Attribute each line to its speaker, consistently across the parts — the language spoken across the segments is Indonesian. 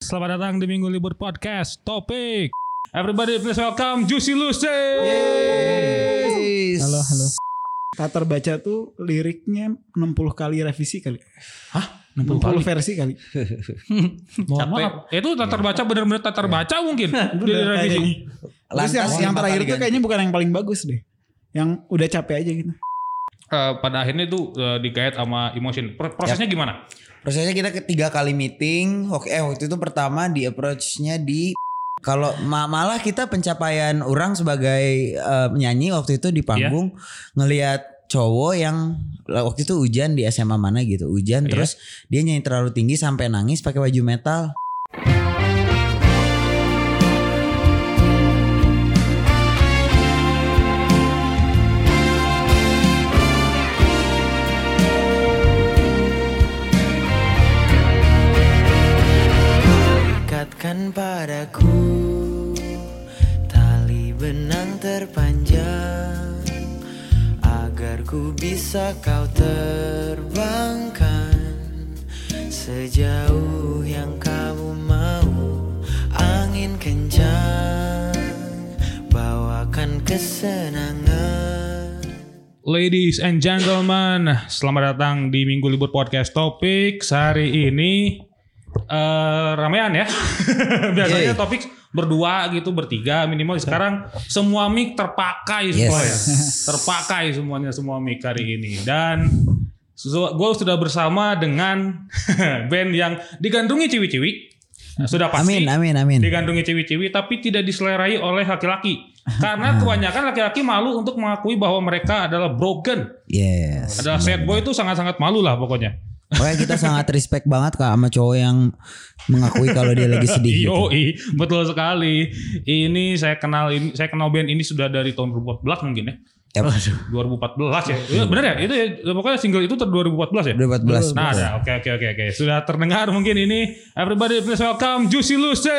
Speaker 1: selamat datang di Minggu Libur Podcast. Topik. Everybody please welcome Juicy Lucy.
Speaker 2: Yeay.
Speaker 3: Halo, halo.
Speaker 2: Tak terbaca tuh liriknya 60 kali revisi kali.
Speaker 1: Hah?
Speaker 2: 60
Speaker 1: 60 kali?
Speaker 2: versi kali.
Speaker 1: Mohon maaf. Eh, Itu tak terbaca benar-benar tak terbaca mungkin. Di
Speaker 2: Iya. Bener,
Speaker 1: revisi.
Speaker 2: kayaknya. Terus yang, yang terakhir tuh kayaknya bukan yang paling bagus deh. Yang udah capek aja gitu.
Speaker 1: Eh, pada akhirnya itu eh, digait sama emotion. Pro- Prosesnya gimana?
Speaker 3: prosesnya kita ketiga kali meeting oke eh, waktu itu pertama di approach-nya di kalau ma- malah kita pencapaian orang sebagai eh, penyanyi waktu itu di panggung ngelihat cowok yang lah, waktu itu hujan di SMA mana gitu hujan
Speaker 1: Iya.
Speaker 3: terus dia nyanyi terlalu tinggi sampai nangis pakai baju metal
Speaker 4: Dekatkan padaku tali benang terpanjang agar ku bisa kau terbangkan sejauh yang kamu mau angin kencang bawakan kesenangan
Speaker 1: Ladies and gentlemen, selamat datang di Minggu Libur Podcast Topik. Hari ini eh ramean ya. Biasanya
Speaker 3: Yeay.
Speaker 1: topik berdua gitu, bertiga minimal. Sekarang semua mic terpakai
Speaker 3: Yes.
Speaker 1: semua ya. Terpakai semuanya semua mic hari ini. Dan gue sudah bersama dengan band yang digandungi ciwi-ciwi. Sudah pasti.
Speaker 3: amin amin amin
Speaker 1: Digandungi ciwi-ciwi tapi tidak diselerai oleh laki-laki. Karena kebanyakan laki-laki malu untuk mengakui bahwa mereka adalah broken.
Speaker 3: yes
Speaker 1: Adalah sad boy itu sangat-sangat malu lah pokoknya.
Speaker 3: makanya kita sangat respect banget kak sama cowok yang mengakui kalau dia lagi sedih gitu.
Speaker 1: Yoi, betul sekali. Ini saya kenal ini saya kenal band ini sudah dari tahun 2014 mungkin ya.
Speaker 3: Yap.
Speaker 1: 2014 ya. Iya, bener ya? Itu ya, pokoknya single itu ter 2014 ya.
Speaker 3: 2014
Speaker 1: Nah, ada. Oke, oke, oke, oke. Sudah terdengar mungkin ini. Everybody please welcome Juicy Lucy.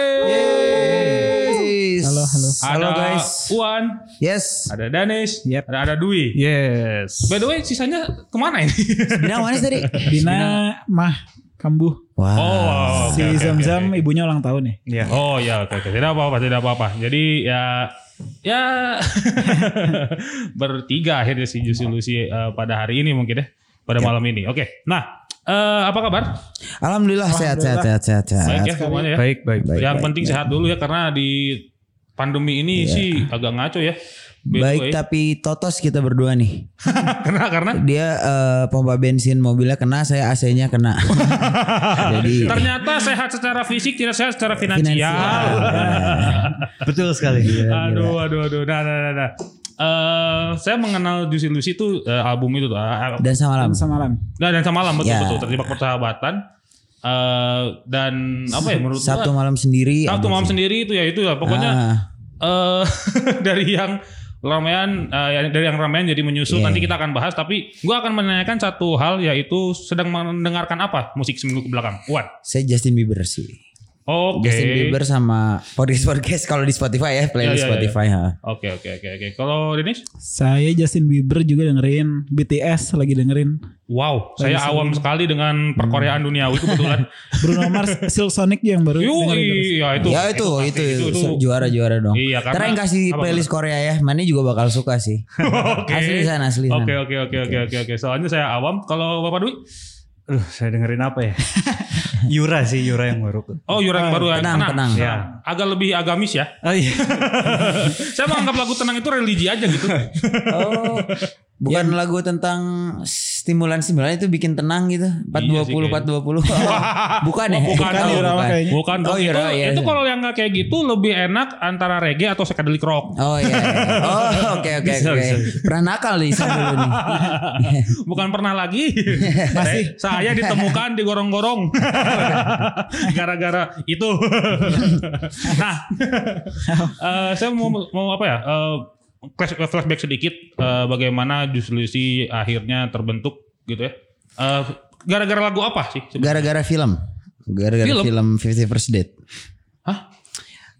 Speaker 3: Halo, halo.
Speaker 1: Ada
Speaker 3: guys.
Speaker 1: Wan,
Speaker 3: Yes.
Speaker 1: ada Danis,
Speaker 2: Yep.
Speaker 1: ada ada Dwi.
Speaker 2: Yes.
Speaker 1: By the way, sisanya kemana ini?
Speaker 3: Bina manis tadi.
Speaker 2: Bina Mah Kambuh.
Speaker 3: Wah.
Speaker 1: oh, oke, oke,
Speaker 2: si
Speaker 1: oke,
Speaker 2: Zam-Zam
Speaker 1: oke.
Speaker 2: ibunya ulang tahun ya.
Speaker 1: Oh ya, oke, oke. tidak apa-apa, tidak apa-apa. Jadi ya, ya bertiga akhirnya si Juicy Lucy eh, pada hari ini mungkin ya, pada malam ini. Oke, nah eh, apa kabar?
Speaker 3: Alhamdulillah sehat sehat sehat sehat.
Speaker 1: Baik
Speaker 3: sehat.
Speaker 1: ya semuanya ya.
Speaker 5: Baik, baik.
Speaker 3: Baik,
Speaker 1: Yang
Speaker 3: baik,
Speaker 1: penting sehat dulu ya karena di pandemi ini sih agak ngaco ya. By the
Speaker 3: Baik
Speaker 1: way.
Speaker 3: tapi totos kita berdua nih.
Speaker 1: karena karena
Speaker 3: Dia eh, pompa bensin mobilnya kena, saya AC-nya kena. Jadi Iya.
Speaker 1: ternyata sehat secara fisik tidak sehat secara finansial.
Speaker 3: Ya.
Speaker 5: Betul sekali.
Speaker 1: aduh, aduh, aduh. Nah, nah, nah, nah. Eh, saya mengenal Juicy Lucy itu eh, album itu tuh. eh,
Speaker 3: Dan semalam.
Speaker 2: Semalam.
Speaker 1: Nah, dan semalam betul
Speaker 3: Ya.
Speaker 1: betul terjebak persahabatan. Eh dan apa ya menurut
Speaker 3: Sabtu
Speaker 1: gua,
Speaker 3: malam sendiri.
Speaker 1: Sabtu
Speaker 3: aduh.
Speaker 1: malam sendiri itu ya itu lah pokoknya
Speaker 3: Ah,
Speaker 1: eh dari yang ramean eh, ya, dari yang ramean jadi menyusul
Speaker 3: Iya.
Speaker 1: nanti kita akan bahas tapi gua akan menanyakan satu hal yaitu sedang mendengarkan apa musik seminggu ke belakang. Wan.
Speaker 3: saya Justin Bieber sih.
Speaker 1: Oke.
Speaker 3: Justin Bieber sama podcast podcast kalau di Spotify ya,
Speaker 1: Ya,
Speaker 3: playlist
Speaker 1: ya, ya.
Speaker 3: Spotify ha.
Speaker 1: Oke oke oke oke. Kalau Denis?
Speaker 2: Saya Justin Bieber juga dengerin BTS lagi dengerin
Speaker 1: Wow, saya
Speaker 2: Lagi
Speaker 1: awam sekali dengan
Speaker 3: Hmm.
Speaker 1: perkoreaan duniawi kebetulan.
Speaker 2: Bruno Mars Silk Sonic yang baru
Speaker 1: Yuk,
Speaker 2: dengerin terus.
Speaker 1: iya itu.
Speaker 3: ya itu
Speaker 1: pasti,
Speaker 3: itu,
Speaker 1: itu.
Speaker 3: juara-juara dong.
Speaker 1: Iya, karena-
Speaker 3: Ntar yang kasih
Speaker 1: apa,
Speaker 3: playlist Korea ya, Mani juga bakal suka sih.
Speaker 1: Oke.
Speaker 3: Asli sana, asli sana.
Speaker 1: Oke oke oke oke oke oke. Soalnya saya awam. Kalau Bapak Dwi?
Speaker 5: Aduh, saya dengerin apa ya? Yura sih, Yura yang baru.
Speaker 1: Oh, Yuran baru ya.
Speaker 3: Ah, tenang, tenang. Ah,
Speaker 1: Ya. Agak lebih agamis ya.
Speaker 5: Oh iya.
Speaker 1: saya menganggap lagu tenang itu religi aja gitu.
Speaker 3: Oh, bukan
Speaker 1: Iya.
Speaker 3: lagu tentang stimulan-stimulan itu bikin tenang gitu.
Speaker 1: Iya
Speaker 3: 420 420. bukan ya?
Speaker 1: Oh, bukan,
Speaker 3: Oh,
Speaker 2: Yura,
Speaker 3: bukan.
Speaker 2: makanya.
Speaker 1: Bukan dong.
Speaker 3: Oh, iya,
Speaker 1: itu,
Speaker 3: iya,
Speaker 1: itu
Speaker 3: iya.
Speaker 1: kalau yang nggak kayak gitu lebih enak antara reggae atau psychedelic rock.
Speaker 3: Oh iya. iya. Oh, oke oke
Speaker 1: Bisa,
Speaker 3: oke.
Speaker 1: bisa.
Speaker 3: Pernah nakal nih saya dulu nih.
Speaker 1: Bukan pernah lagi. Masih. Saya ditemukan di gorong-gorong. Gara-gara itu. nah, eh, saya mau mau apa ya? eh, flash- flashback sedikit eh, bagaimana Juslusi akhirnya terbentuk gitu ya. Eh, gara-gara lagu apa sih?
Speaker 3: Gara-gara film. Gara-gara
Speaker 1: Film?
Speaker 3: film Fifty First Date.
Speaker 1: Hah?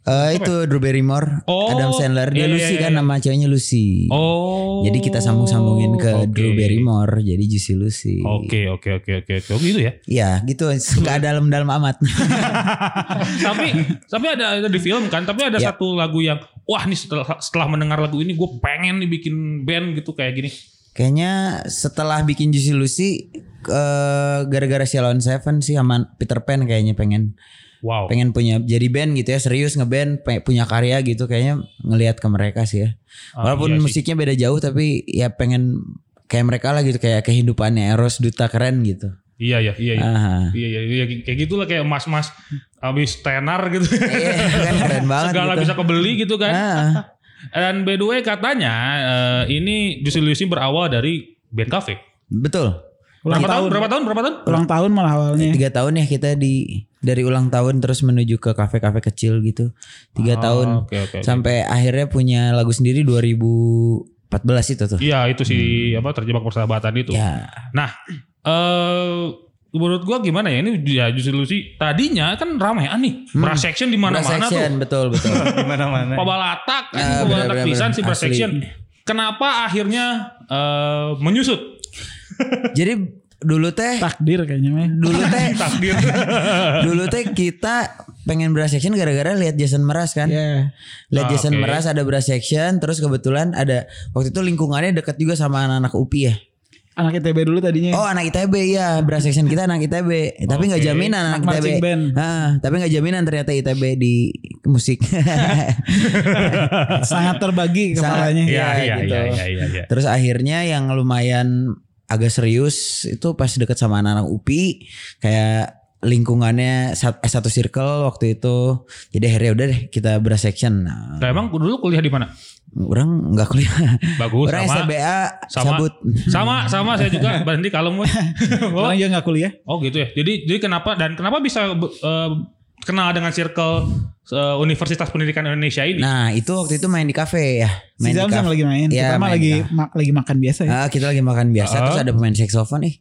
Speaker 3: Eh, itu Drew Barrymore,
Speaker 1: Oh,
Speaker 3: Adam Sandler,
Speaker 1: iya,
Speaker 3: dia
Speaker 1: iya,
Speaker 3: Lucy
Speaker 1: iya,
Speaker 3: kan
Speaker 1: iya.
Speaker 3: nama ceweknya Lucy.
Speaker 1: Oh.
Speaker 3: Jadi kita sambung-sambungin ke
Speaker 1: oke.
Speaker 3: Drew Barrymore, jadi Juicy Lucy.
Speaker 1: Oke oke oke oke oke gitu ya.
Speaker 3: Iya, gitu. Gak dalam-dalam amat.
Speaker 1: tapi tapi ada, ada di film kan. Tapi ada
Speaker 3: Ya.
Speaker 1: satu lagu yang wah nih setelah setelah mendengar lagu ini gue pengen nih bikin band gitu kayak gini.
Speaker 3: Kayaknya setelah bikin Juicy Lucy, eh, gara-gara Shalon Seven sih sama Peter Pan kayaknya pengen
Speaker 1: Wow.
Speaker 3: pengen punya jadi band gitu ya serius ngeband pe- punya karya gitu kayaknya ngelihat ke mereka sih ya
Speaker 1: Ah,
Speaker 3: walaupun
Speaker 1: iya sih.
Speaker 3: musiknya beda jauh tapi ya pengen kayak mereka lah gitu kayak kehidupannya Eros Duta keren gitu
Speaker 1: Iya iya iya. iya.
Speaker 3: Aha.
Speaker 1: Iya iya iya kayak gitulah kayak mas-mas habis tenar gitu.
Speaker 3: Iya, kan keren banget
Speaker 1: Segala
Speaker 3: gitu.
Speaker 1: bisa kebeli gitu kan.
Speaker 3: Ah,
Speaker 1: Dan by the way katanya eh, ini Juicy Lucy berawal dari band cafe.
Speaker 3: betul
Speaker 1: Berapa tahun? Berapa tahun? Berapa tahun?
Speaker 2: Ulang tahun malah awalnya.
Speaker 3: tiga tahun ya kita di dari ulang tahun terus menuju ke kafe-kafe kecil gitu tiga
Speaker 1: Ah,
Speaker 3: tahun
Speaker 1: Oke oke. oke.
Speaker 3: sampai akhirnya punya lagu sendiri 2014 itu tuh
Speaker 1: Iya itu si
Speaker 3: Hmm.
Speaker 1: apa terjebak persahabatan itu.
Speaker 3: ya
Speaker 1: Nah, eh menurut gua gimana ya ini ya Juicy Lucy tadinya kan ramean nih. Brass section di mana-mana
Speaker 3: Hmm. Brass Action,
Speaker 1: tuh.
Speaker 3: betul betul
Speaker 5: Gimana-mana.
Speaker 1: Pabalatak kan
Speaker 3: Ah,
Speaker 1: pabalatak
Speaker 3: bener-bener,
Speaker 1: pisan si
Speaker 3: asli.
Speaker 1: brass section. Kenapa akhirnya eh, menyusut?
Speaker 3: jadi dulu teh
Speaker 2: Takdir kayaknya. Mei.
Speaker 3: dulu teh
Speaker 1: Takdir.
Speaker 3: dulu teh kita pengen brass section gara-gara lihat Jason Meras kan
Speaker 2: Ya.
Speaker 3: lihat
Speaker 1: Ah,
Speaker 3: Jason
Speaker 1: oke.
Speaker 3: Meras ada brass section terus kebetulan ada waktu itu lingkungannya dekat juga sama anak-anak UPI ya
Speaker 2: Anak ITB dulu tadinya.
Speaker 3: oh anak ITB ya brass section kita anak ITB Eh, tapi nggak
Speaker 1: Oke.
Speaker 3: jaminan anak,
Speaker 2: Anak marching
Speaker 3: ITB
Speaker 2: band.
Speaker 3: Ah, tapi nggak jaminan ternyata ITB di musik
Speaker 2: Sangat terbagi kepalanya.
Speaker 1: Iya
Speaker 3: Ya,
Speaker 1: iya
Speaker 3: gitu.
Speaker 1: iya iya iya. iya.
Speaker 3: Terus akhirnya yang lumayan agak serius itu pas deket sama anak-anak UPI kayak lingkungannya sa- eh, satu circle waktu itu jadi akhirnya udah deh kita brass section nah,
Speaker 1: Nah, emang dulu kuliah di mana?
Speaker 3: orang nggak kuliah
Speaker 1: Bagus
Speaker 3: orang
Speaker 1: sama
Speaker 3: SBA
Speaker 1: sama
Speaker 3: cabut
Speaker 1: sama sama saya juga berhenti kalem Woy.
Speaker 2: Orang juga gak kuliah.
Speaker 1: oh gitu ya. Jadi jadi kenapa dan kenapa bisa be- eh, kenal dengan circle eh, Universitas Pendidikan Indonesia ini?
Speaker 3: nah itu waktu itu main di kafe ya
Speaker 2: Si
Speaker 3: main di
Speaker 2: Zam
Speaker 3: kafe
Speaker 2: sama lagi main.
Speaker 3: Ya,
Speaker 2: Pertama
Speaker 3: main
Speaker 2: lagi
Speaker 3: di
Speaker 2: ma- lagi makan biasa ya.
Speaker 3: Ah, kita lagi makan biasa
Speaker 1: Ah.
Speaker 3: terus ada pemain saksofon ih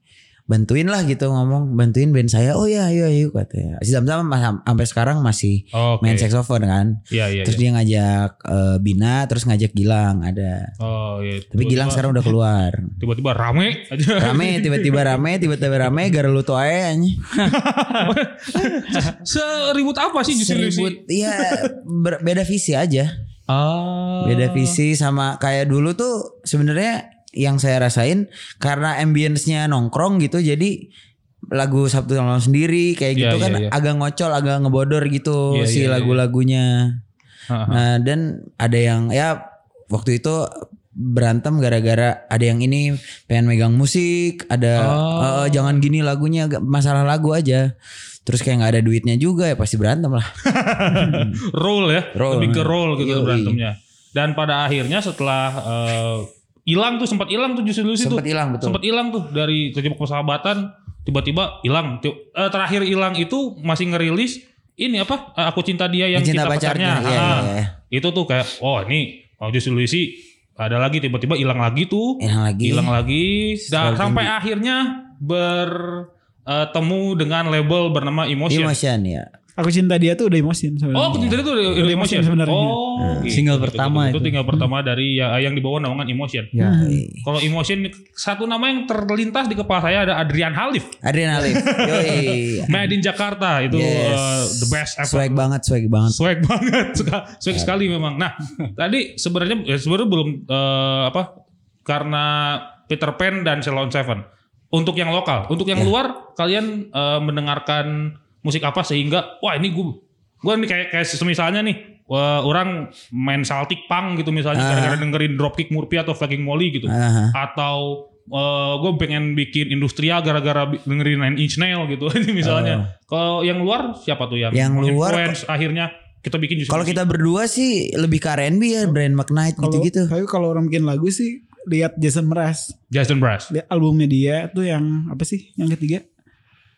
Speaker 3: bantuin lah gitu ngomong bantuin band saya oh ya ayo ayo katanya si Zamzam mas- sampai sekarang masih
Speaker 1: Oke.
Speaker 3: main saksofon kan
Speaker 1: Iya iya.
Speaker 3: Terus
Speaker 1: iya.
Speaker 3: dia ngajak eh, Bina, terus ngajak Gilang ada.
Speaker 1: Oh iya.
Speaker 3: Tapi Gilang
Speaker 1: Tiba-tiba-
Speaker 3: sekarang udah keluar.
Speaker 1: tiba-tiba rame aja.
Speaker 3: Rame, tiba-tiba rame, tiba-tiba rame, gara lu tuh aja.
Speaker 1: Seribut apa sih justru
Speaker 3: Seribut, iya ber- beda visi aja.
Speaker 1: Ah.
Speaker 3: Beda visi sama kayak dulu tuh sebenarnya yang saya rasain karena ambience-nya nongkrong gitu jadi lagu Sabtu Malam sendiri kayak
Speaker 1: Iya,
Speaker 3: gitu
Speaker 1: iya,
Speaker 3: kan
Speaker 1: iya.
Speaker 3: agak ngocol, agak ngebodor gitu
Speaker 1: Iya,
Speaker 3: si
Speaker 1: iya, iya.
Speaker 3: lagu-lagunya.
Speaker 1: Ah, ah.
Speaker 3: Nah, dan ada yang ya waktu itu berantem gara-gara ada yang ini pengen megang musik, ada
Speaker 1: Oh.
Speaker 3: "Eh, eh, jangan gini lagunya agak- masalah lagu aja. Terus kayak nggak ada duitnya juga ya pasti berantem lah.
Speaker 1: Roll ya.
Speaker 3: Roll.
Speaker 1: Lebih ke roll gitu
Speaker 3: Yoi.
Speaker 1: berantemnya. Dan pada akhirnya setelah eh, hilang tuh sempat hilang tuh justru Lucy tuh.
Speaker 3: Sempet hilang betul.
Speaker 1: Sempat hilang tuh dari terjebak persahabatan tiba-tiba hilang. Ti- eh, terakhir hilang itu masih ngerilis ini apa? Eh, aku cinta dia yang
Speaker 3: Cinta
Speaker 1: cinta, pacarnya.
Speaker 3: pacarnya, iya,
Speaker 1: Ah,
Speaker 3: iya, iya.
Speaker 1: Itu tuh kayak oh ini oh justru Lucy ada lagi tiba-tiba hilang lagi tuh.
Speaker 3: Hilang lagi.
Speaker 1: hilang lagi dan
Speaker 3: Selalu
Speaker 1: sampai
Speaker 3: Iya. tinggi.
Speaker 1: akhirnya bertemu dengan label bernama Emotion.
Speaker 3: Emotion ya.
Speaker 2: Aku cinta dia tuh udah emosin sebenarnya.
Speaker 1: Oh, kejutan itu dari dari Emotion.
Speaker 2: Iya. Emotion sebenarnya. Iya. Hmm.
Speaker 1: Oh, gitu.
Speaker 5: Single
Speaker 1: Gitu,
Speaker 5: pertama
Speaker 1: gitu. itu.
Speaker 5: itu.
Speaker 1: tinggal pertama dari ya, yang dibawa naungan Emotion.
Speaker 5: Ya.
Speaker 1: Kalau Emotion satu nama yang terlintas di kepala saya ada Adrian Halif.
Speaker 3: Adrenalin. Yoi.
Speaker 1: Made in Jakarta itu
Speaker 3: Yes.
Speaker 1: uh, the best ever.
Speaker 3: Swag banget, swag banget.
Speaker 1: Swag banget, suka- swag sekali memang. Nah, tadi sebenarnya ya sebenarnya belum eh, apa karena Peter Pan dan Ceylon Seven. Untuk yang lokal, untuk yang luar kalian eh, mendengarkan musik apa sehingga wah ini gue gue nih kayak kayak misalnya nih wah, orang main saltik pang gitu misalnya gara-gara dengerin Dropkick Murphy atau Fucking Molly gitu
Speaker 3: Aha.
Speaker 1: atau gue pengen bikin industrial gara-gara bi- dengerin Nine Inch Nail gitu aja misalnya. Kalau yang luar siapa tuh yang,
Speaker 3: Oh. Yang luar-
Speaker 1: influence akhirnya kita bikin justru
Speaker 3: Kalau kita berdua sih lebih ke R&B ya, Brian McKnight
Speaker 2: Kalau-
Speaker 3: gitu-gitu.
Speaker 2: Tapi kalau orang bikin lagu sih lihat Jason Mraz,
Speaker 1: Jason Brass.
Speaker 2: lihat albumnya dia tuh yang apa sih? Yang ketiga?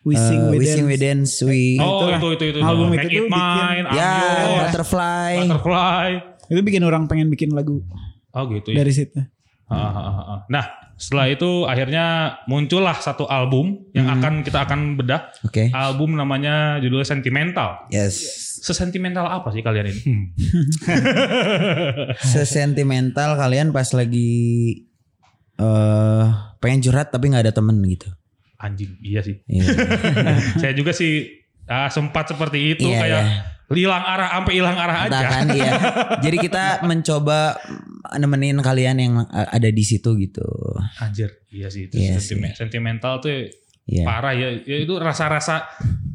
Speaker 2: We Sing,
Speaker 3: Eh,
Speaker 2: We,
Speaker 3: we Sing,
Speaker 2: Dance.
Speaker 3: We Dance, We...
Speaker 1: Oh
Speaker 2: itulah.
Speaker 1: itu itu itu.
Speaker 2: Album
Speaker 1: Make It
Speaker 2: itu tuh
Speaker 1: Mine, I'm
Speaker 3: ya,
Speaker 1: Yours,
Speaker 3: Butterfly.
Speaker 1: Butterfly.
Speaker 2: Itu bikin orang pengen bikin lagu
Speaker 3: Iya.
Speaker 1: Oh gitu. ya.
Speaker 2: dari situ.
Speaker 1: Ah, ah, ah, ah. Nah, setelah itu akhirnya muncullah satu album yang
Speaker 3: Hmm.
Speaker 1: akan kita akan bedah.
Speaker 3: Oke.
Speaker 1: Album namanya judulnya Sentimental.
Speaker 3: Yes.
Speaker 1: Sesentimental apa sih kalian ini?
Speaker 3: Sesentimental kalian pas lagi eh pengen curhat tapi nggak ada temen gitu.
Speaker 1: Anjing, iya sih.
Speaker 3: Iya.
Speaker 1: Saya juga sih ah, sempat seperti itu
Speaker 3: Iya,
Speaker 1: kayak
Speaker 3: iya.
Speaker 1: hilang arah sampai hilang arah aja.
Speaker 3: Entah kan, iya. Jadi kita mencoba nemenin kalian yang eh, ada di situ gitu.
Speaker 1: Anjir, iya sih itu
Speaker 3: Iya
Speaker 1: sentimen- sentimental tuh
Speaker 3: Iya.
Speaker 1: parah ya. Ya itu rasa-rasa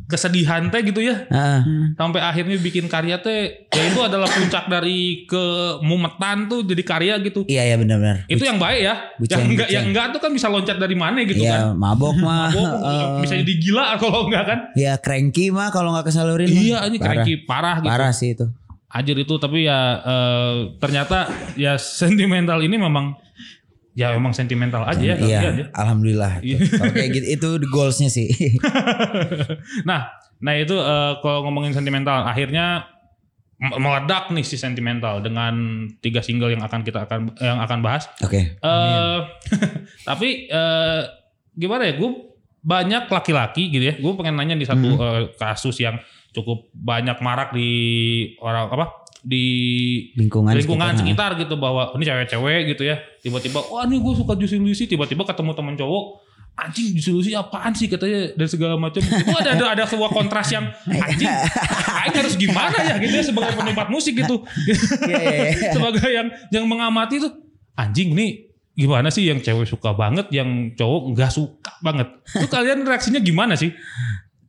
Speaker 1: kesedihan teh gitu ya.
Speaker 3: Ah,
Speaker 1: Sampai akhirnya bikin karya teh ya itu adalah puncak dari kemumetan tuh jadi karya gitu.
Speaker 3: iya ya benar-benar.
Speaker 1: itu yang baik ya.
Speaker 3: Buceng,
Speaker 1: yang enggak
Speaker 3: buceng.
Speaker 1: yang enggak tuh kan bisa loncat dari mana gitu kan.
Speaker 3: Iya mabok mah.
Speaker 1: Gua
Speaker 3: eh,
Speaker 1: bisa jadi gila kalau enggak kan.
Speaker 3: Ya cranky mah kalau nggak kesalurin. mah.
Speaker 1: Iya ini
Speaker 3: Parah.
Speaker 1: cranky parah gitu.
Speaker 3: Parah sih itu.
Speaker 1: Anjir itu tapi ya eh, ternyata ya sentimental ini memang ya memang sentimental aja ya
Speaker 3: iya,
Speaker 1: kalian ya.
Speaker 3: alhamdulillah.
Speaker 1: Iya.
Speaker 3: Kalau kayak gitu itu the goalsnya sih.
Speaker 1: Nah, nah itu eh, kalau ngomongin sentimental akhirnya m- meledak nih si sentimental dengan tiga single yang akan kita akan yang akan bahas.
Speaker 3: Oke.
Speaker 1: eh tapi eh gimana ya, gue banyak laki-laki gitu ya. Gue pengen nanya di satu eh, kasus yang cukup banyak marak di orang apa di
Speaker 3: Lingkungan.
Speaker 1: lingkungan
Speaker 3: sekitar.
Speaker 1: sekitar, gitu bahwa ini cewek-cewek gitu ya. Tiba-tiba, wah ini gue suka Juicy Lucy. Tiba-tiba ketemu temen cowok anjing Juicy Lucy apaan sih katanya dan segala macam itu ada ada ada sebuah kontras yang anjing aing harus gimana ya gitu ya sebagai penikmat musik gitu
Speaker 3: Iya, iya, iya.
Speaker 1: sebagai yang yang mengamati tuh anjing nih gimana sih yang cewek suka banget yang cowok nggak suka banget itu kalian reaksinya gimana sih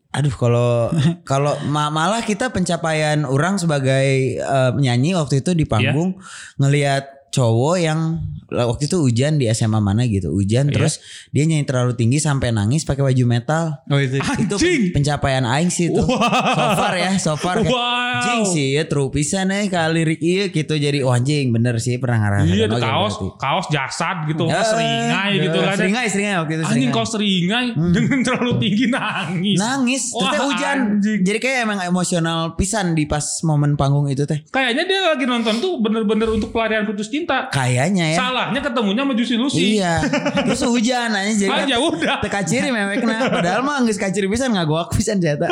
Speaker 3: Aduh kalau kalau ma- malah kita pencapaian orang sebagai eh, penyanyi waktu itu
Speaker 1: Iya.
Speaker 3: di panggung ngelihat cowok yang lah, waktu itu hujan di SMA mana gitu hujan
Speaker 1: Iya.
Speaker 3: terus dia nyanyi terlalu tinggi sampai nangis pakai baju metal
Speaker 5: Oh itu.
Speaker 3: itu pen- pencapaian aing sih itu so far ya so far kayak,
Speaker 1: Wow.
Speaker 3: Jing sih ya true pisan eh kali lirik iya gitu jadi wah jing bener sih pernah ngerasain
Speaker 1: iya tuh
Speaker 3: Oke,
Speaker 1: kaos
Speaker 3: berarti.
Speaker 1: kaos jasad gitu
Speaker 3: Ya,
Speaker 1: seringai
Speaker 3: ya,
Speaker 1: gitu kan ya.
Speaker 3: Seringai, seringai waktu itu.
Speaker 1: anjing
Speaker 3: seringai.
Speaker 1: kau seringai dengan terlalu tinggi nangis
Speaker 3: Hmm. nangis, terus
Speaker 1: Wah,
Speaker 3: teh hujan.
Speaker 1: anjing.
Speaker 3: Jadi kayak emang emosional pisan di pas momen panggung itu teh.
Speaker 1: kayaknya dia lagi nonton tuh bener-bener untuk pelarian putus cinta
Speaker 3: Kayaknya ya.
Speaker 1: salahnya ketemunya sama Juicy Lucy
Speaker 3: Iya. terus hujan aja jadi.
Speaker 1: Ah, ya udah.
Speaker 3: Teh kaciri mewekna. Padahal mah geus kaciri pisan ngagoak pisan jata.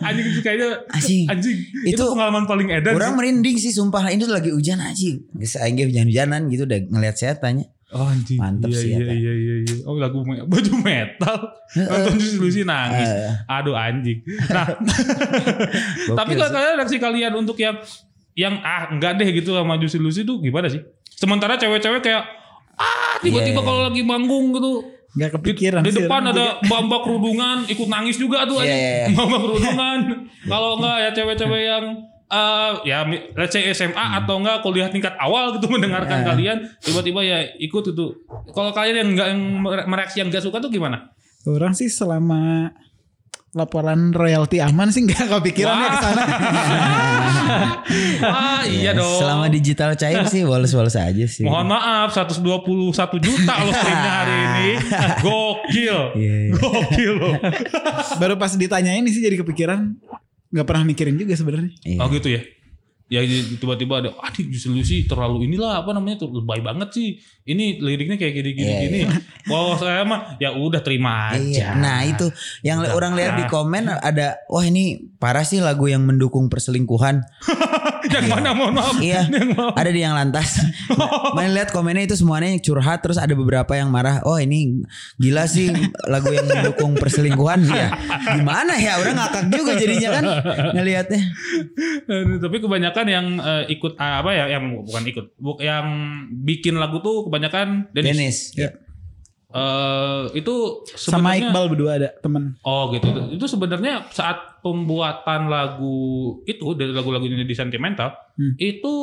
Speaker 1: anjing itu kayaknya
Speaker 3: Anjing.
Speaker 1: anjing itu,
Speaker 3: Itu-
Speaker 1: pengalaman paling edan sih.
Speaker 3: Orang merinding sih sumpah. Ini tuh lagi hujan anjing. Geus aing ge hujan-hujanan gitu udah ngelihat saya tanya.
Speaker 1: oh anjing
Speaker 3: Mantep
Speaker 1: iya,
Speaker 3: sih ya,
Speaker 1: iya,
Speaker 3: Teh.
Speaker 1: iya iya iya oh lagu me- baju metal nonton Juicy Lucy nangis
Speaker 3: Heeh.
Speaker 1: aduh anjing nah tapi
Speaker 3: Gokil
Speaker 1: kalau
Speaker 3: sih.
Speaker 1: kalian reaksi kalian untuk yang yang ah enggak deh gitu sama Juicy Lucy tuh gimana sih sementara cewek-cewek kayak ah tiba-tiba
Speaker 3: Iya.
Speaker 1: kalau lagi manggung gitu
Speaker 2: Gak kepikiran
Speaker 1: di
Speaker 2: sih,
Speaker 1: depan
Speaker 2: orang
Speaker 1: ada mbak-mbak kerudungan ikut nangis juga tuh
Speaker 3: Iya,
Speaker 1: anjing.
Speaker 3: iya, iya.
Speaker 1: mbak-mbak kerudungan kalau enggak ya cewek-cewek yang eh, ya mi- let's say SMA
Speaker 3: Hmm.
Speaker 1: atau enggak kuliah tingkat awal gitu
Speaker 3: Iya.
Speaker 1: mendengarkan kalian tiba-tiba ya ikut itu kalau kalian yang enggak yang mere- mereaksi yang enggak suka tuh gimana
Speaker 2: Orang sih selama laporan royalti aman sih nggak kepikiran
Speaker 1: Wah.
Speaker 2: ya ke sana.
Speaker 1: ah iya dong
Speaker 3: Selama digital cair sih bolos-bolos aja sih.
Speaker 1: Mohon maaf 121 juta lo streamnya hari ini Gokil
Speaker 3: Iya, iya.
Speaker 1: Gokil lo
Speaker 2: Baru pas ditanyain sih jadi kepikiran nggak pernah mikirin juga sebenarnya.
Speaker 3: Iya.
Speaker 1: Oh gitu ya. Ya di- tiba-tiba ada adik Justin Lucy terlalu inilah apa namanya tuh lebay banget sih. Ini liriknya kayak gini gini
Speaker 3: Iya,
Speaker 1: gini. Wah saya mah ya udah terima
Speaker 3: Iya.
Speaker 1: aja.
Speaker 3: Nah itu yang orang lihat di komen ada wah ini parah sih lagu yang mendukung perselingkuhan.
Speaker 1: yang mana Ya kan? mohon maaf.
Speaker 3: iya. Ada di yang lantas.
Speaker 5: Oh.
Speaker 3: Main lihat komennya itu semuanya yang curhat terus ada beberapa yang marah. Oh ini gila sih lagu yang mendukung perselingkuhan ya. Gimana ya orang ngakak juga jadinya kan ngelihatnya.
Speaker 1: Eh, Tapi kebanyakan yang eh, ikut eh, apa ya yang bukan ikut bu- yang bikin lagu tuh kebanyakan Dennis.
Speaker 3: Dennis.
Speaker 5: Ya.
Speaker 3: Iya.
Speaker 1: Eh, itu
Speaker 2: Sama
Speaker 1: sebenarnya-
Speaker 2: Iqbal berdua ada temen.
Speaker 1: Oh gitu. Itu- Itu sebenarnya saat pembuatan lagu itu dari lagu-lagunya di sentimental
Speaker 2: Hmm.
Speaker 1: itu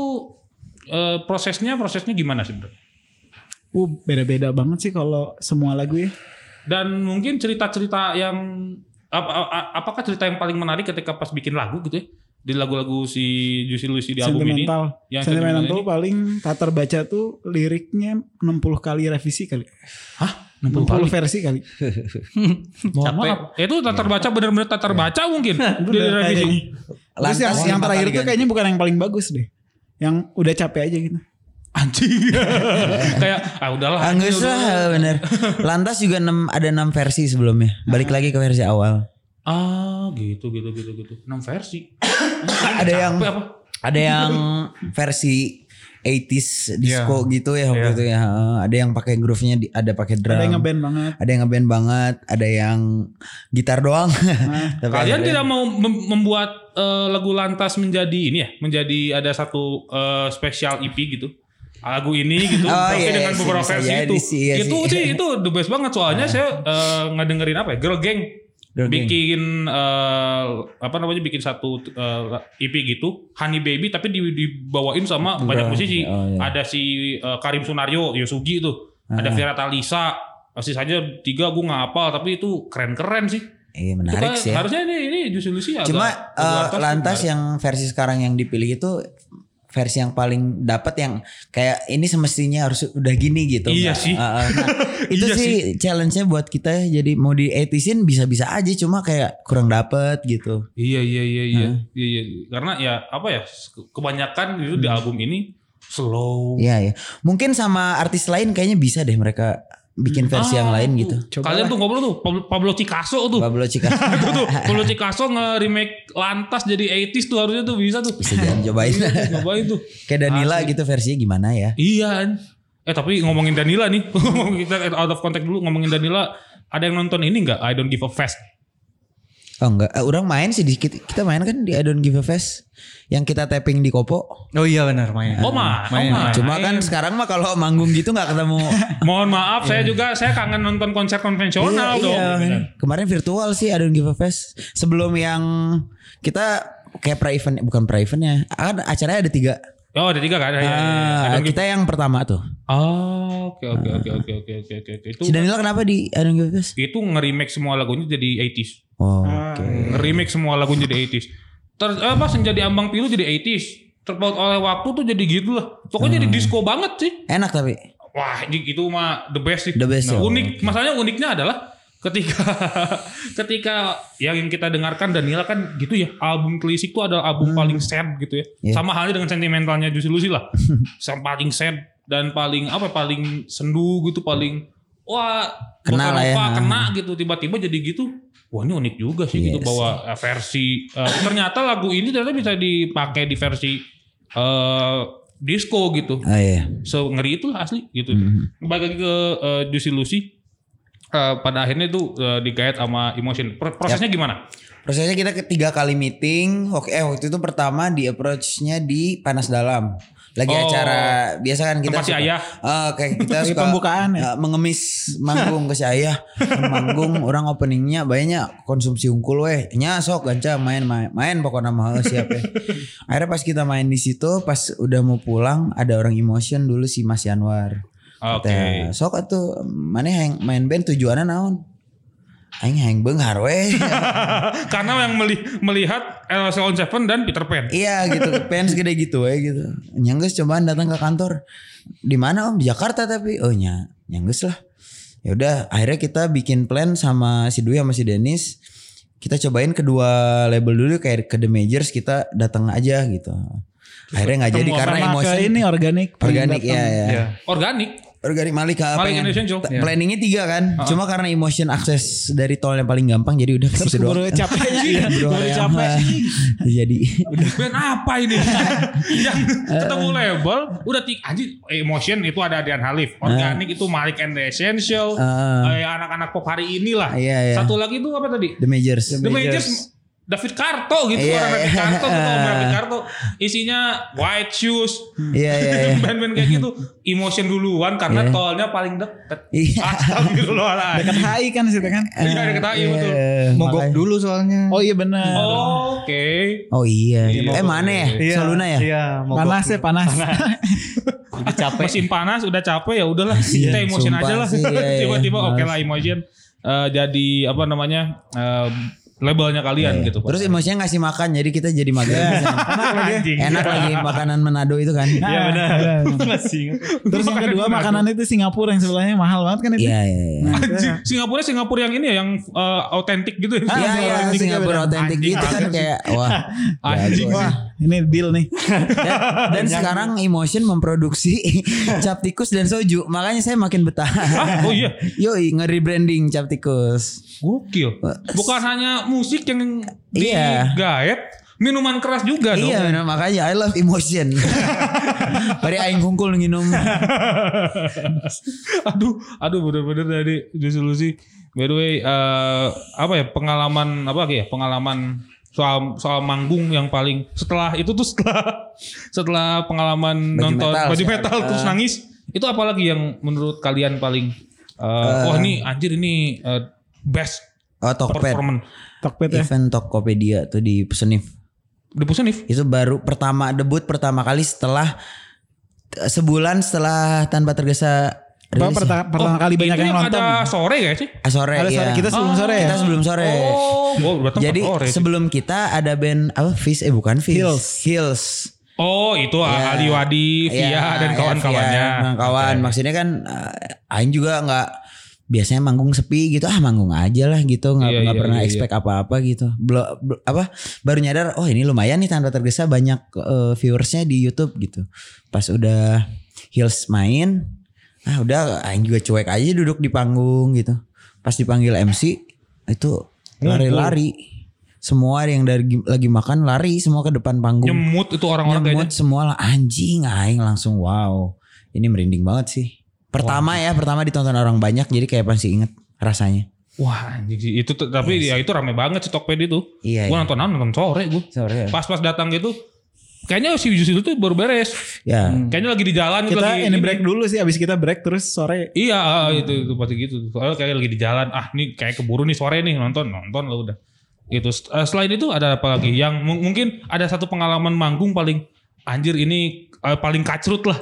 Speaker 1: eh, prosesnya prosesnya gimana sebenarnya?
Speaker 2: Uh beda-beda banget sih kalau semua lagu ya.
Speaker 1: Dan mungkin cerita-cerita yang ap- ap- ap- apakah cerita yang paling menarik ketika pas bikin lagu gitu ya di lagu-lagu si Juicy Lucy di album ini?
Speaker 2: Sentimental.
Speaker 1: Yang
Speaker 2: Sentimental
Speaker 1: sentimental
Speaker 2: tuh paling tatar baca tuh liriknya 60 kali revisi kali.
Speaker 1: Hah?
Speaker 2: 60
Speaker 1: kali?
Speaker 2: versi kali.
Speaker 1: Mohon maaf. Itu tatar baca benar-benar tatar baca mungkin di
Speaker 2: Iya. Bener,
Speaker 1: revisi.
Speaker 2: kayaknya. Terus yang,
Speaker 3: Lantas
Speaker 2: yang
Speaker 3: empat
Speaker 2: terakhir
Speaker 3: kali
Speaker 2: tuh
Speaker 3: ganti.
Speaker 2: kayaknya bukan yang paling bagus deh. Yang udah capek aja gitu.
Speaker 1: anjing kayak ah udahlah
Speaker 3: Anggus
Speaker 1: anjing, udah.
Speaker 3: lah bener. Lantas juga 6, ada 6 versi sebelumnya. Balik lagi ke versi awal.
Speaker 1: ah gitu gitu gitu gitu enam versi
Speaker 3: Ada yang-
Speaker 1: Capek apa?
Speaker 3: Ada yang versi 80s disco gitu ya waktu
Speaker 5: Iya.
Speaker 3: itu ya. Ada yang pakai groove-nya di- ada pakai drum.
Speaker 2: Ada yang ngeband banget.
Speaker 3: ada yang ngeband banget, ada yang gitar doang. Tapi
Speaker 1: kalian
Speaker 3: ada-
Speaker 1: tidak mau mem- membuat eh, lagu lantas menjadi ini ya menjadi ada satu eh, spesial EP gitu lagu ini gitu
Speaker 3: Oh,
Speaker 1: tapi
Speaker 3: iya, iya
Speaker 1: dengan
Speaker 3: sih,
Speaker 1: beberapa
Speaker 3: bisa
Speaker 1: versi
Speaker 3: jadi
Speaker 1: itu
Speaker 3: sih, iya
Speaker 1: itu
Speaker 3: sih. Nah.
Speaker 1: sih itu the best banget soalnya saya eh, ngedengerin apa ya girl gang
Speaker 3: Girl Gang.
Speaker 1: bikin eh, apa namanya bikin satu eh, EP gitu Honey Baby tapi di- dibawain sama banyak musisi
Speaker 3: Oh, iya. Ah.
Speaker 1: ada si eh, Karim Sunario Yosugi tuh ada Vera Talisa sisanya tiga gue nggak hafal tapi itu keren-keren sih itu
Speaker 3: Iya
Speaker 1: kan
Speaker 3: menarik sih. Ya.
Speaker 1: Harusnya ini ini justru Lucy agak gitu
Speaker 3: Cuma
Speaker 1: agak
Speaker 3: eh,
Speaker 1: atas
Speaker 3: lantas
Speaker 1: tuh,
Speaker 3: yang versi sekarang yang dipilih itu versi yang paling dapat yang kayak ini semestinya harus udah gini gitu.
Speaker 1: Iya
Speaker 3: Nah,
Speaker 1: sih.
Speaker 3: eh, eh, nah, itu
Speaker 1: Iya
Speaker 3: sih challenge-nya buat kita ya. jadi mau di 80s-in bisa-bisa aja cuma kayak kurang dapet gitu.
Speaker 1: Iya iya iya iya. Iya, iya. Karena ya apa ya ke- kebanyakan itu
Speaker 3: Hmm.
Speaker 1: di album ini slow.
Speaker 3: Iya ya. Mungkin sama artis lain kayaknya bisa deh mereka bikin versi yang
Speaker 1: Ah, uh.
Speaker 3: lain
Speaker 1: tuh.
Speaker 3: gitu.
Speaker 1: Kalian tuh ngobrol tuh Pablo, Pablo Picasso tuh.
Speaker 3: Pablo Chica
Speaker 1: Itu tuh Pablo Picasso nge-remake lantas jadi 80s tuh harusnya tuh bisa tuh.
Speaker 3: bisa jangan cobain.
Speaker 1: Iya, tuh, Cobain tuh.
Speaker 3: Kayak Danila gitu versinya gimana ya?
Speaker 1: Iya. An. Eh tapi ngomongin Danila nih. Kita out of contact dulu ngomongin Danila. Ada yang nonton ini nggak? I don't give a fast.
Speaker 3: Oh enggak, Eh, orang main sih di kita, kita main kan di I Don't Give a Fest yang kita tapping di Kopo.
Speaker 5: Oh iya benar main.
Speaker 1: Oh, ma- oh, ma- Main.
Speaker 3: Ah, Cuma kan sekarang mah kalau manggung gitu nggak ketemu.
Speaker 1: Mohon maaf saya juga saya kangen nonton konser konvensional dong.
Speaker 3: Iya,
Speaker 1: gitu kan.
Speaker 3: Kemarin virtual sih I Don't Give a Fest. Sebelum yang kita kayak pra event bukan pra eventnya kan acaranya ada tiga
Speaker 1: Oh ada tiga kan? Ya, ya, ya.
Speaker 3: Ah,
Speaker 1: Ada yang gitu.
Speaker 3: kita yang pertama tuh
Speaker 1: Oh oke oke oke oke oke oke oke oke. itu
Speaker 3: si Danila kenapa di I don't give a Fest?
Speaker 1: itu nge-remake semua lagunya jadi 80s.
Speaker 3: oh
Speaker 1: Ah. Nge-remake semua lagunya jadi 80s. Terus apa senjadi ambang pilu jadi 80s. Terpaut oleh waktu tuh jadi gitu lah.
Speaker 3: Ah.
Speaker 1: Pokoknya jadi disco banget sih.
Speaker 3: enak tapi
Speaker 1: Wah ini- itu mah the best sih.
Speaker 3: The best,
Speaker 1: Nah,
Speaker 3: ya.
Speaker 1: unik. Masalahnya uniknya adalah ketika ketika yang kita dengarkan Danila kan gitu ya album Klasik tuh adalah album paling sad gitu ya
Speaker 3: Hmm. Iya.
Speaker 1: sama halnya dengan sentimentalnya Juicy Lucy lah yang paling sad dan paling apa paling sendu gitu paling wah bakal
Speaker 3: Kena lah ya.
Speaker 1: lupa, kena gitu tiba-tiba jadi gitu wah ini unik juga sih gitu
Speaker 3: Yes.
Speaker 1: bahwa eh, versi eh, ternyata lagu ini ternyata bisa dipakai di versi eh, disco gitu
Speaker 3: oh iya
Speaker 1: ngeri itu lah asli gitu.
Speaker 3: Mm-hmm.
Speaker 1: Balik lagi ke eh, Juicy Lucy eh, pada akhirnya itu eh, digait sama emotion. Pro- prosesnya
Speaker 3: Ya.
Speaker 1: gimana?
Speaker 3: Prosesnya kita ketiga kali meeting. Oke, eh, waktu itu pertama di approach-nya di Panas Dalam. Lagi
Speaker 1: Oh.
Speaker 3: acara biasa kan kita
Speaker 1: Tempat si
Speaker 3: suka-
Speaker 1: Ayah.
Speaker 3: Ah, kayak kita
Speaker 2: Lagi
Speaker 3: suka
Speaker 2: pembukaan ya?
Speaker 3: eh, mengemis manggung ke si Ayah. manggung orang openingnya banyak konsumsi ungkul weh. Nya sok ganca main main, main pokoknya mah eh, siap eh. Akhirnya pas kita main di situ pas udah mau pulang ada orang emotion dulu si Mas Yanwar.
Speaker 1: Oke.
Speaker 3: Kata, Sok atuh mana yang main band tujuannya naon? Aing hang benghar weh.
Speaker 1: Karena yang meli- melihat LC on Seven dan Peter Pan.
Speaker 3: Iya gitu, pens gede gitu ya gitu. Nyangges cobaan datang ke kantor. Di mana Om? Di Jakarta tapi. Oh nya, nyangges lah. Ya udah, akhirnya kita bikin plan sama si Dwi sama si Denis. Kita cobain kedua label dulu kayak ke The Majors kita datang aja gitu. Akhirnya nggak jadi
Speaker 1: ketemu
Speaker 3: karena
Speaker 2: Sama
Speaker 3: emosi
Speaker 2: ke ini organik.
Speaker 3: organik ya, ya.
Speaker 5: Iya.
Speaker 1: Organik.
Speaker 3: Organik Malika
Speaker 1: Malik
Speaker 3: pengen-
Speaker 1: Indonesian Show.
Speaker 3: ta- Planningnya tiga kan, cuma karena emotion akses dari tol yang paling gampang jadi udah ke
Speaker 2: Terus
Speaker 3: situ
Speaker 2: baru
Speaker 3: doang.
Speaker 2: capeknya. Iya, Baru
Speaker 3: Doang.
Speaker 2: capek.
Speaker 3: jadi
Speaker 1: Band apa ini? yang
Speaker 3: Eh,
Speaker 1: ketemu label udah tik anjir emotion itu ada Adrian
Speaker 3: Eh.
Speaker 1: Halif, organik itu Malik and the Essential,
Speaker 3: Ah.
Speaker 1: eh, anak-anak pop hari inilah.
Speaker 3: Iya, iya.
Speaker 1: Satu lagi itu apa tadi?
Speaker 3: The Majors.
Speaker 1: The Majors David Karto gitu
Speaker 3: Iya,
Speaker 1: orang David
Speaker 3: iya.
Speaker 1: Karto gitu orang David Karto isinya white shoes
Speaker 3: Iya iya iya.
Speaker 1: band-band kayak gitu emotion duluan karena
Speaker 3: Iya.
Speaker 1: tolnya paling deket
Speaker 3: Iya.
Speaker 1: astagfirullahaladzim
Speaker 2: Dekat HI kan situ kan.
Speaker 1: Iya, deket AI,
Speaker 3: Iya,
Speaker 1: betul.
Speaker 5: Mogok
Speaker 3: makanya.
Speaker 5: dulu soalnya.
Speaker 2: Oh iya benar.
Speaker 1: oke
Speaker 3: Oh iya.
Speaker 1: Iya,
Speaker 3: eh
Speaker 1: mogok
Speaker 3: mana ya?
Speaker 5: Iya,
Speaker 3: Saluna ya?
Speaker 5: Iya, mogok.
Speaker 2: panas ya panas.
Speaker 5: capek.
Speaker 1: mesin panas udah capek ya udahlah kita
Speaker 3: Iya,
Speaker 1: emotion
Speaker 3: sumpah
Speaker 1: aja lah
Speaker 3: sih, iya, iya.
Speaker 1: tiba-tiba oke
Speaker 3: Males.
Speaker 1: lah emotion Eh, jadi apa namanya eh, labelnya kalian gitu Pak.
Speaker 3: Iya. Terus emosinya ngasih makan jadi kita jadi mager.
Speaker 5: ya?
Speaker 1: anjing
Speaker 3: Enak lagi makanan Manado itu kan.
Speaker 5: Iya benar.
Speaker 2: Iya,
Speaker 5: Masih ingat.
Speaker 2: Terus yang kedua
Speaker 1: Makanan
Speaker 2: makanan itu Singapura yang sebelahnya mahal banget kan itu.
Speaker 3: Iya iya iya.
Speaker 1: Anjing, Singapura Singapura yang ini ya yang eh, autentik gitu ya.
Speaker 3: Iya iya
Speaker 2: Singapura
Speaker 3: Singapura
Speaker 2: otentik
Speaker 3: otentik
Speaker 1: Anjing,
Speaker 3: gitu kan
Speaker 1: anjing.
Speaker 3: kayak wah.
Speaker 1: Anjing.
Speaker 3: jago.
Speaker 1: Wah,
Speaker 2: Nah, Ini deal nih.
Speaker 3: Dan, dan sekarang Emotion memproduksi cap tikus dan soju. Makanya saya makin betah.
Speaker 1: Ah, oh iya.
Speaker 3: Yoi, nge-rebranding cap tikus.
Speaker 1: Gokil. Bukan hanya musik yang
Speaker 3: Iya.
Speaker 1: digaet, minuman keras juga dong.
Speaker 3: Iya benar makanya I love Emotion. Bari aing hungkul nginum.
Speaker 1: aduh, aduh bener-bener dari disolusi. By the way, eh, apa ya pengalaman apa lagi ya pengalaman soal soal manggung yang paling setelah itu tuh setelah setelah pengalaman
Speaker 3: Baju
Speaker 1: nonton
Speaker 3: metal, Ah.
Speaker 1: baju
Speaker 3: setelah-
Speaker 1: metal terus nangis itu apalagi yang menurut kalian paling eh,
Speaker 3: Ah.
Speaker 1: wah ini anjir ini eh, best
Speaker 3: Oh, Tokped.
Speaker 1: performance
Speaker 2: Tokped ya.
Speaker 3: Event Tokopedia tuh di Senif.
Speaker 1: The Pusenif
Speaker 3: Itu baru pertama debut pertama kali setelah sebulan setelah tanpa tergesa
Speaker 2: Apa
Speaker 3: rilis. ya?
Speaker 2: perta- pertama kali banyak
Speaker 1: itu
Speaker 2: yang nonton.
Speaker 1: ada Oh, sore gak sih?
Speaker 3: Ah, sore,
Speaker 2: Ada sore,
Speaker 3: iya.
Speaker 2: kita sebelum sore ya?
Speaker 3: Kita sebelum sore.
Speaker 1: Oh, gua datang
Speaker 3: Jadi
Speaker 1: pas sore. sih.
Speaker 3: sebelum kita ada band apa Fish eh bukan Fish
Speaker 2: Hills.
Speaker 3: Hills.
Speaker 1: oh, itu
Speaker 3: Ya.
Speaker 1: Ali Wadi, Via
Speaker 3: Iya,
Speaker 1: dan
Speaker 3: iya,
Speaker 1: kawan-kawannya.
Speaker 3: Fia, kawan. Maksudnya kan eh, Aing juga nggak biasanya manggung sepi gitu ah manggung aja lah gitu nggak
Speaker 1: Iya,
Speaker 3: nggak
Speaker 1: iya,
Speaker 3: pernah
Speaker 1: iya,
Speaker 3: expect apa-apa gitu Bel- bel- apa baru nyadar oh ini lumayan nih tanpa tergesa banyak eh, viewersnya di YouTube gitu pas udah Hills main ah udah Aing juga cuek aja duduk di panggung gitu pas dipanggil MC itu lari-lari semua yang dari lagi makan lari semua ke depan panggung
Speaker 1: Nyemut itu orang-orang kayaknya.
Speaker 3: nyemut semua lah anjing aing langsung wow ini merinding banget sih pertama ya pertama ditonton orang banyak jadi kayak pasti inget rasanya
Speaker 1: Wah, anjing sih. Itu tuh- tapi ya itu rame banget si Tokped itu.
Speaker 3: iya
Speaker 1: Gua
Speaker 3: iya.
Speaker 1: nonton ah, nonton sore gua.
Speaker 3: Sorry ya.
Speaker 1: Pas-pas datang gitu kayaknya si Yus itu tuh baru beres.
Speaker 3: ya
Speaker 1: Kayaknya lagi di jalan gitu
Speaker 2: Kita
Speaker 1: lagi.
Speaker 2: ini break dulu sih abis kita break terus sore
Speaker 1: Iya, ah, itu itu pasti gitu. Soalnya kayak lagi di jalan. Ah, nih kayak keburu nih sore nih nonton, nonton lah udah. Gitu. Eh, Selain itu ada apa lagi? Yang mu- mungkin ada satu pengalaman manggung paling anjir ini eh, paling kacrut lah.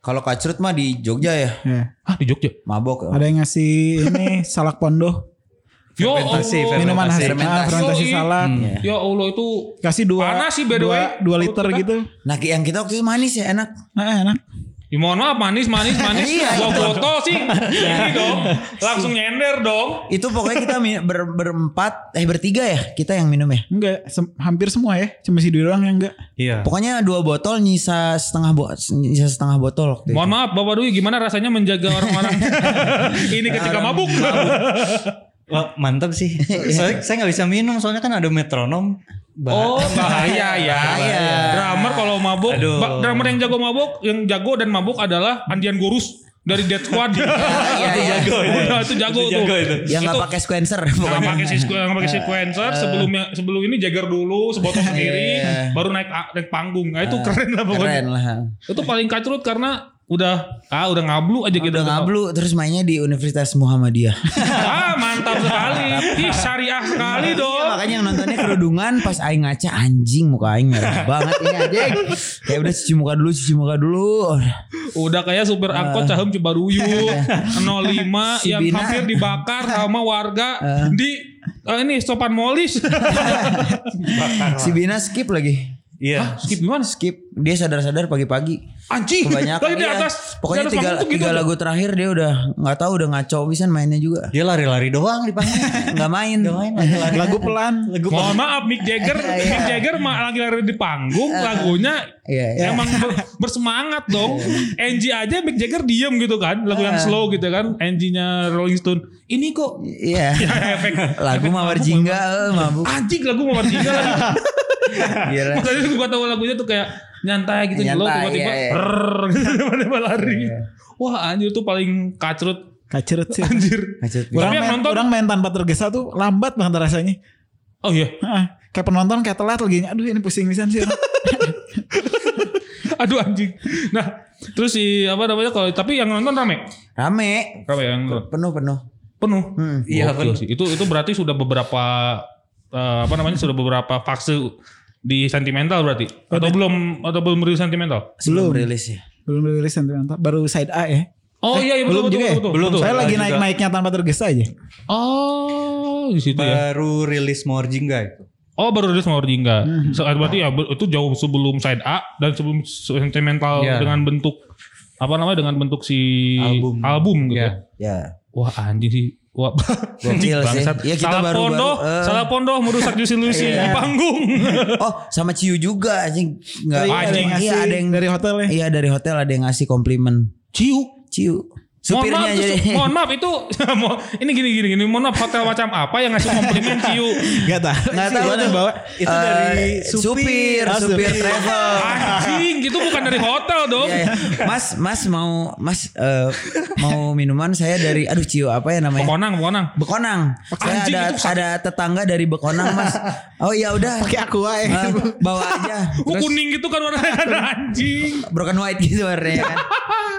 Speaker 3: kalau kacrut mah di Jogja ya
Speaker 2: Ya.
Speaker 1: Ah, di Jogja.
Speaker 3: mabok ya.
Speaker 2: Oh. ada yang ngasih ini salak pondo
Speaker 1: Yo, Allah.
Speaker 5: Fermentasi,
Speaker 2: minuman khas
Speaker 5: Fermentasi.
Speaker 2: fermentasi, fermentasi
Speaker 1: Yoi.
Speaker 2: salak
Speaker 5: Hmm.
Speaker 1: Ya Allah itu
Speaker 2: kasih dua
Speaker 1: Panas sih, by the
Speaker 2: dua,
Speaker 1: way.
Speaker 2: dua liter
Speaker 1: Perut kita.
Speaker 2: gitu
Speaker 3: nah yang kita waktu itu manis ya enak
Speaker 2: nah, enak
Speaker 1: Ya mohon maaf manis manis manis
Speaker 3: Iya,
Speaker 1: gua
Speaker 3: itu.
Speaker 1: foto sih ini dong langsung nyender dong
Speaker 3: itu pokoknya kita min- ber- berempat eh bertiga ya kita yang minum ya
Speaker 2: enggak sem- hampir semua ya cuma si dua doang yang enggak
Speaker 5: Iya.
Speaker 3: pokoknya dua botol nyisa setengah bo nyisa setengah botol waktu itu.
Speaker 1: mohon maaf Bapak Dwi gimana rasanya menjaga orang-orang ini ketika mabuk
Speaker 5: Wah, mantap Oh, sih. Soalnya saya nggak bisa minum soalnya kan ada metronom. Bah-
Speaker 1: oh bahaya ya
Speaker 3: Bahaya.
Speaker 1: drummer kalau mabuk
Speaker 5: Aduh.
Speaker 1: ba- drummer yang jago mabuk yang jago dan mabuk adalah Andian Gorus dari Dead Squad
Speaker 3: iya, iya.
Speaker 5: Jago itu.
Speaker 1: Udah, itu jago
Speaker 5: Itu
Speaker 1: tuh
Speaker 5: jago itu.
Speaker 3: yang Ya, nggak pakai sequencer
Speaker 1: Yang
Speaker 3: pokoknya
Speaker 1: pakai sisku- yang pakai sequencer sebelumnya sebelum ini jager dulu sebotol sendiri
Speaker 3: Eh. Iya. Eh,
Speaker 1: baru naik naik panggung nah itu keren lah pokoknya
Speaker 3: keren lah
Speaker 1: itu paling kacrut karena udah ah udah ngablu aja gitu
Speaker 3: udah ngablu terus mainnya di Universitas Muhammadiyah
Speaker 1: ah mantap sekali ih syariah sekali
Speaker 3: Iya,
Speaker 1: dong
Speaker 3: makanya yang nontonnya kerudungan pas aing ngaca anjing muka aing merah banget ini anjing. Kayak udah cuci muka dulu, cuci muka dulu.
Speaker 1: udah kayak supir
Speaker 3: Eh.
Speaker 1: angkot Cahem Cibaruyut 05 yang
Speaker 3: Subina.
Speaker 1: hampir dibakar sama warga di eh, ini sopan molis
Speaker 3: Si Bina skip lagi.
Speaker 5: Iya.
Speaker 1: skip gimana
Speaker 3: Skip. Dia sadar-sadar pagi-pagi.
Speaker 1: anjing
Speaker 3: Kebanyakan.
Speaker 1: Tadi di
Speaker 3: iya.
Speaker 1: atas di
Speaker 3: Pokoknya
Speaker 1: atas
Speaker 3: tiga,
Speaker 1: panggung tuh gitu
Speaker 3: tiga
Speaker 1: aja.
Speaker 3: lagu terakhir dia udah nggak tahu udah ngaco bisa mainnya juga.
Speaker 5: Dia lari-lari doang di panggung.
Speaker 3: Nggak main.
Speaker 2: lagu pelan
Speaker 5: Lagu
Speaker 1: Mohon maaf Mick Jagger, Mick Jagger ma- lagi lari di panggung, lagunya
Speaker 3: Iya, iya.
Speaker 1: emang ber- bersemangat dong. Angie aja Mick Jagger diem gitu kan, lagu yang slow gitu kan, Angie-nya Rolling Stone. Ini kok
Speaker 3: Iya.
Speaker 1: efek
Speaker 3: Lagu mawar jingga, eh, mabuk.
Speaker 1: anjing lagu mau mati lagi.
Speaker 3: Gila.
Speaker 1: Maksudnya gue tahu lagunya tuh kayak nyantai gitu
Speaker 3: Iya. Nyantai,
Speaker 1: slow tiba-tiba
Speaker 3: iya, iya.
Speaker 1: rrrr, gitu, tiba-tiba lari. Wah anjir tuh paling kacrut
Speaker 2: kacret sih
Speaker 1: anjir.
Speaker 3: Ngaco.
Speaker 1: Tapi
Speaker 2: orang
Speaker 1: yang
Speaker 2: main,
Speaker 1: nonton-
Speaker 2: orang main tanpa tergesa tuh lambat banget rasanya
Speaker 1: Oh iya,
Speaker 2: Heeh. kayak penonton kayak telat lagi aduh ini pusing pisan sih
Speaker 1: aduh anjing. Nah, terus si apa namanya kalau tapi yang nonton rame.
Speaker 3: Rame.
Speaker 1: Rame yang nonton.
Speaker 3: Penuh penuh.
Speaker 1: penuh.
Speaker 3: Hmm.
Speaker 1: Iya penuh. Sih. Itu itu berarti sudah beberapa eh, apa namanya sudah beberapa fase di sentimental berarti atau belum atau belum rilis sentimental.
Speaker 3: Sebelum rilis ya.
Speaker 2: belum rilis sentimental baru side A ya
Speaker 1: Oh iya iya betul
Speaker 2: belum
Speaker 1: betul,
Speaker 2: juga ya?
Speaker 1: betul,
Speaker 5: Belum,
Speaker 1: betul.
Speaker 2: saya lagi
Speaker 5: juga.
Speaker 2: naik naiknya tanpa tergesa aja
Speaker 1: Oh di situ ya.
Speaker 5: baru rilis Morjinga itu.
Speaker 1: Oh baru rilis mau Jingga.
Speaker 2: Mhm.
Speaker 1: So, berarti ya be- itu jauh sebelum side A dan sebelum sentimental
Speaker 5: Iya.
Speaker 1: dengan bentuk apa namanya dengan bentuk si
Speaker 5: Album.
Speaker 1: gitu.
Speaker 5: Iya.
Speaker 1: ya.
Speaker 3: Ya.
Speaker 1: Wah anjing sih. Wah,
Speaker 3: Gokil sih.
Speaker 1: bangsat.
Speaker 3: Ya, kita
Speaker 1: salah
Speaker 3: baru-
Speaker 1: pondoh,
Speaker 3: baru, eh.
Speaker 1: salah pondoh merusak juicy-lucy di panggung.
Speaker 3: Oh, sama Ciu juga anjing. Enggak.
Speaker 1: iya, ada yang
Speaker 3: Iya, ada yang
Speaker 2: dari hotelnya.
Speaker 3: Iya, dari hotel ada yang ngasih komplimen.
Speaker 2: Ciu.
Speaker 3: Ciu.
Speaker 1: mohon maaf,
Speaker 3: Supirnya
Speaker 1: itu,
Speaker 3: jadi.
Speaker 1: mohon maaf itu, mo- ini gini gini gini, mohon maaf hotel macam apa yang ngasih komplimen Ciu?
Speaker 2: Gak tahu.
Speaker 3: Nggak tahu
Speaker 2: Gimana
Speaker 3: tuh.
Speaker 2: bawa?
Speaker 5: Itu dari
Speaker 3: Eh, supir,
Speaker 2: Oh,
Speaker 3: supir
Speaker 2: supir.
Speaker 3: travel.
Speaker 1: Anjing, itu bukan dari hotel dong.
Speaker 3: Iya, iya. Mas, Mas mau Mas eh, mau minuman saya dari aduh Ciu apa ya namanya?
Speaker 1: Bekonang, bekonang.
Speaker 3: Bekonang. Saya
Speaker 1: Anjing,
Speaker 3: ada
Speaker 1: itu sakit.
Speaker 3: ada tetangga dari Bekonang, Mas. Oh ya udah.
Speaker 2: Pakai aku aja.
Speaker 3: Eh, bawa aja.
Speaker 1: Oh, kuning gitu kan warnanya ada anjing.
Speaker 3: broken white gitu warnanya kan.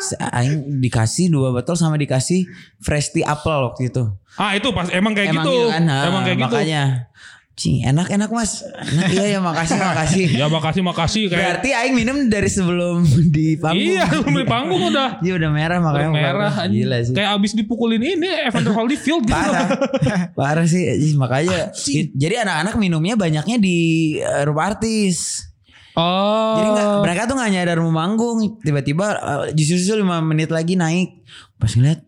Speaker 3: Se- Aing dikasih dua botol sama dikasih fresh tea apple waktu itu.
Speaker 1: Ah itu pas emang kayak
Speaker 3: Emang
Speaker 1: gitu.
Speaker 3: iya kan? Ah,
Speaker 1: emang kayak gitu.
Speaker 3: makanya. Cing, enak-enak Mas. Enak iya ya makasih makasih.
Speaker 1: Ya makasih makasih kayak.
Speaker 3: Berarti aing minum dari sebelum di panggung.
Speaker 1: Iya, beli panggung udah.
Speaker 3: Iya udah merah makanya.
Speaker 1: Warna merah
Speaker 3: panggung.
Speaker 1: anjing.
Speaker 3: Gila sih.
Speaker 1: Kayak gitu. abis dipukulin ini Evander Holyfield gitu.
Speaker 3: Parah. Parah sih Ih, makanya. i- Jadi anak-anak minumnya banyaknya di eh, rumah artis.
Speaker 1: Oh.
Speaker 3: Jadi nggak- mereka tuh gak nyadar mau manggung. Tiba-tiba uh, justru 5 menit lagi naik. Pas ngeliat.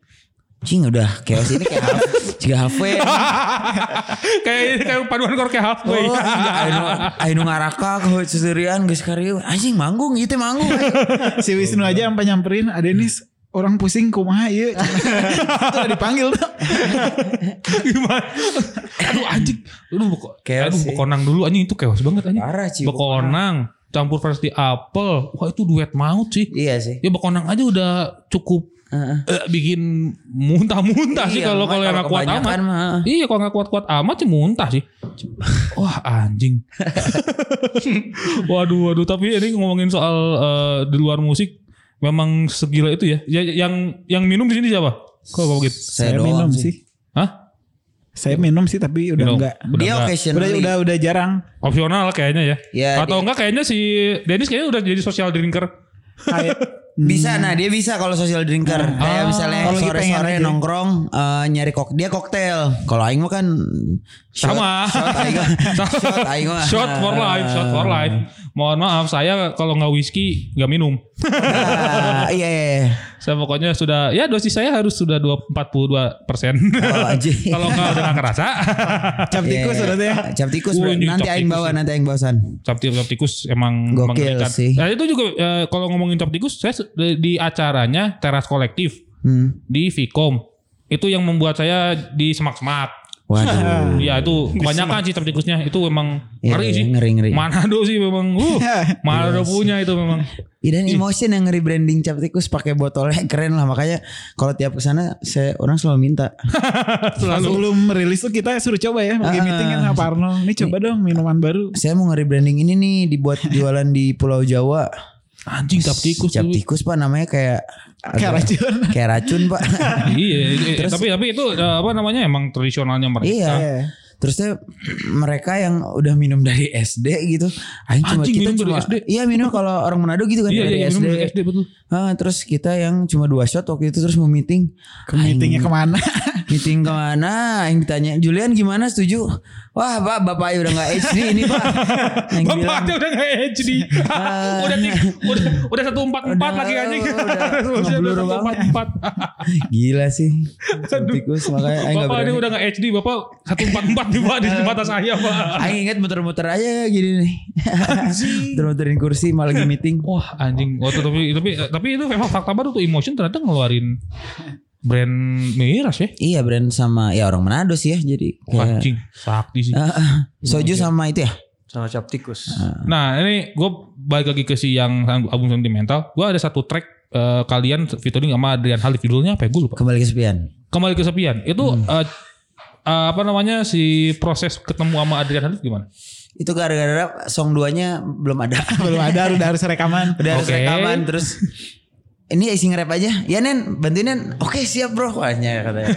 Speaker 3: Cing udah chaos ini kayak half, juga halfway.
Speaker 1: kayak ini kayak paduan kor kayak
Speaker 3: Oh,
Speaker 1: halfway.
Speaker 3: Ainu, Ainu ngaraka ke Susurian geus karyu. Anjing manggung itu manggung. anjing.
Speaker 2: Si Wisnu aja sampai nyamperin Adenis orang pusing kumaha ieu. Itu udah dipanggil tuh.
Speaker 1: Gimana? aduh anjing. Aduh beko,
Speaker 3: Chaos
Speaker 1: aduh
Speaker 3: sih.
Speaker 1: bekonang dulu anjing itu chaos banget anjing.
Speaker 3: Parah sih.
Speaker 1: Bekonang campur versi apel. Wah itu duet maut sih.
Speaker 3: Iya sih.
Speaker 1: Ya bekonang aja udah cukup
Speaker 3: Heeh.
Speaker 1: eh, bikin muntah-muntah sih
Speaker 3: Iya,
Speaker 1: kalau kalau
Speaker 3: makanya
Speaker 1: yang nggak kuat amat.
Speaker 3: kebanyakan mah.
Speaker 1: Iya kalau nggak kuat-kuat amat sih muntah sih. Wah anjing. waduh waduh tapi ini ngomongin soal eh, di luar musik memang segila itu ya. Ya, yang yang minum di sini siapa? Kok kamu gitu?
Speaker 3: Saya, doang
Speaker 2: minum
Speaker 3: sih.
Speaker 2: sih.
Speaker 1: Hah?
Speaker 2: Saya minum sih tapi udah
Speaker 1: Minum.
Speaker 2: enggak.
Speaker 1: Udah
Speaker 3: Dia
Speaker 1: nggak.
Speaker 2: Udah
Speaker 3: occasionally.
Speaker 2: udah udah jarang.
Speaker 1: Opsional kayaknya ya.
Speaker 3: Ya,
Speaker 1: Atau
Speaker 3: dia-
Speaker 1: enggak kayaknya si Dennis kayaknya udah jadi social drinker.
Speaker 2: Kayak
Speaker 3: Bisa nah dia bisa kalau social drinker kayak
Speaker 1: Ah.
Speaker 3: misalnya
Speaker 2: Hmm. Kalau lagi pengen
Speaker 3: sore-sore
Speaker 2: aja.
Speaker 3: nongkrong eh, nyari kok dia koktail. Kalau aing mah kan shot-
Speaker 1: Sama.
Speaker 3: shot aing mah. Shot aing mah. Nah,
Speaker 1: Shot for life, shot for life. Mohon maaf saya kalau nggak whisky nggak minum.
Speaker 3: Ah, iya iya. iya.
Speaker 1: Saya pokoknya sudah ya dosis saya harus sudah 42 persen.
Speaker 3: Oh, anjing.
Speaker 1: Kalau nggak udah nggak kerasa.
Speaker 2: cap tikus
Speaker 3: Iya,
Speaker 2: udah tuh
Speaker 3: iya.
Speaker 2: ya.
Speaker 3: Cap tikus
Speaker 1: Wih,
Speaker 3: bro.
Speaker 1: ini
Speaker 3: nanti
Speaker 1: cap
Speaker 3: aing
Speaker 1: tikus
Speaker 3: bawa
Speaker 1: ya.
Speaker 3: nanti aing bawasan.
Speaker 1: Cap tikus, cap tikus emang
Speaker 3: Gokil
Speaker 1: mengerikan.
Speaker 3: sih.
Speaker 1: Nah, itu juga eh, kalau ngomongin cap tikus, saya se- di, di acaranya teras kolektif
Speaker 3: Hmm.
Speaker 1: di Vicom itu yang membuat saya di semak-semak.
Speaker 3: Waduh.
Speaker 1: Iya itu kebanyakan sih cap tikusnya itu memang
Speaker 3: Ah. Iya,
Speaker 1: ngeri
Speaker 3: iya,
Speaker 1: sih.
Speaker 3: ngeri, ngeri.
Speaker 1: Manado sih memang. Uh, Manado punya itu memang.
Speaker 3: Iya, Dan emotion yang rebranding cap tikus pakai botolnya keren lah makanya kalau tiap kesana saya orang selalu minta.
Speaker 1: Selalu
Speaker 2: Sebelum rilis tuh kita suruh coba ya lagi
Speaker 3: Ah.
Speaker 2: meeting kan sama Parno. Ini coba dong minuman baru.
Speaker 3: Saya mau nge-rebranding ini nih dibuat jualan di Pulau Jawa.
Speaker 1: anjing cap tikus.
Speaker 3: Cap
Speaker 1: dulu.
Speaker 3: tikus pak namanya kayak
Speaker 2: Kayak
Speaker 3: agak-
Speaker 2: racun.
Speaker 3: Kayak racun pak.
Speaker 1: Iya, iya, tapi tapi itu eh, apa namanya emang tradisionalnya mereka.
Speaker 3: iya. Terusnya mereka yang udah minum dari SD gitu, aing cuma
Speaker 1: Anjing, minum
Speaker 3: kita
Speaker 1: dari
Speaker 3: cuma
Speaker 1: SD.
Speaker 3: iya minum kalau orang Manado gitu kan
Speaker 1: Iya,
Speaker 3: dari
Speaker 1: iya,
Speaker 3: SD.
Speaker 1: minum dari SD betul.
Speaker 3: Ah, terus kita yang cuma dua shot waktu itu terus mau meeting.
Speaker 2: Ke meetingnya
Speaker 3: Aing-
Speaker 2: kemana?
Speaker 3: Meeting kemana? Yang ditanya Julian gimana setuju? Wah pak bapak udah nggak HD ini pak. Yang bilang,
Speaker 1: Bapaknya udah gak HD. udah tik, udah udah 144
Speaker 3: Udah,
Speaker 1: lagi anjing.
Speaker 3: udah,
Speaker 1: Resolusinya
Speaker 3: ngeblur
Speaker 1: udah
Speaker 3: banget.
Speaker 1: 144.
Speaker 3: Gila sih. Tikus makanya aing nggak
Speaker 1: Bapak
Speaker 3: berani.
Speaker 1: ini udah gak HD, Bapak 144 nih Pak di mata saya, Pak.
Speaker 3: Aing inget muter-muter aja gini nih. Muter-muterin kursi malah lagi meeting.
Speaker 1: Wah, anjing. Waktu tapi tapi eh, tapi itu memang fakta baru tuh Emotion ternyata ngeluarin brand miras ya.
Speaker 3: Iya brand sama ya orang Manado sih ya jadi kayak
Speaker 1: Anjing, sakti sih.
Speaker 3: Ah, ah. soju
Speaker 2: Iya.
Speaker 3: sama itu ya.
Speaker 5: Sama cap tikus.
Speaker 1: Nah ini gue balik lagi ke si yang album sentimental. Gue ada satu track eh, kalian featuring sama Adrian Halif judulnya apa ya? Gue lupa.
Speaker 3: Kembali kesepian.
Speaker 1: Kembali kesepian. Itu eh, eh, apa namanya si proses ketemu sama Adrian Halif gimana?
Speaker 3: Itu gara-gara song duanya belum ada.
Speaker 2: Belum ada udah harus rekaman.
Speaker 3: Udah harus
Speaker 1: Oke.
Speaker 3: rekaman terus ini isi nge-rap aja. Ya Nen, bantuin Nen. Oke, siap bro. Wahnya katanya.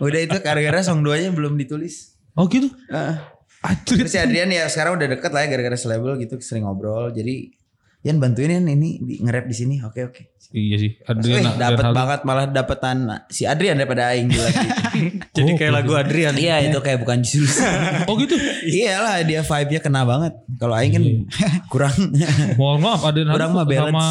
Speaker 3: udah itu gara-gara song duanya belum ditulis.
Speaker 1: Oh gitu.
Speaker 3: Heeh.
Speaker 1: Adrian.
Speaker 3: Terus si Adrian ya sekarang udah deket lah ya gara-gara selebel gitu sering ngobrol. Jadi Yan bantuin Yan ini di- nge-rap di sini. Oke, oke.
Speaker 1: Iya sih.
Speaker 3: Wih,
Speaker 1: Adrian, Adrian
Speaker 3: dapat
Speaker 1: Halif.
Speaker 3: Eh, banget malah dapetan si Adrian daripada aing gila gitu.
Speaker 5: Jadi kayak lagu Adrian.
Speaker 3: Iya, itu kayak bukan jurus.
Speaker 1: Oh gitu.
Speaker 3: Iyalah dia vibe-nya kena banget. Kalau aing kan
Speaker 1: Iya.
Speaker 3: kurang.
Speaker 1: Mohon maaf Adrian
Speaker 3: Kurang
Speaker 1: Halif
Speaker 3: mah balance.
Speaker 1: sama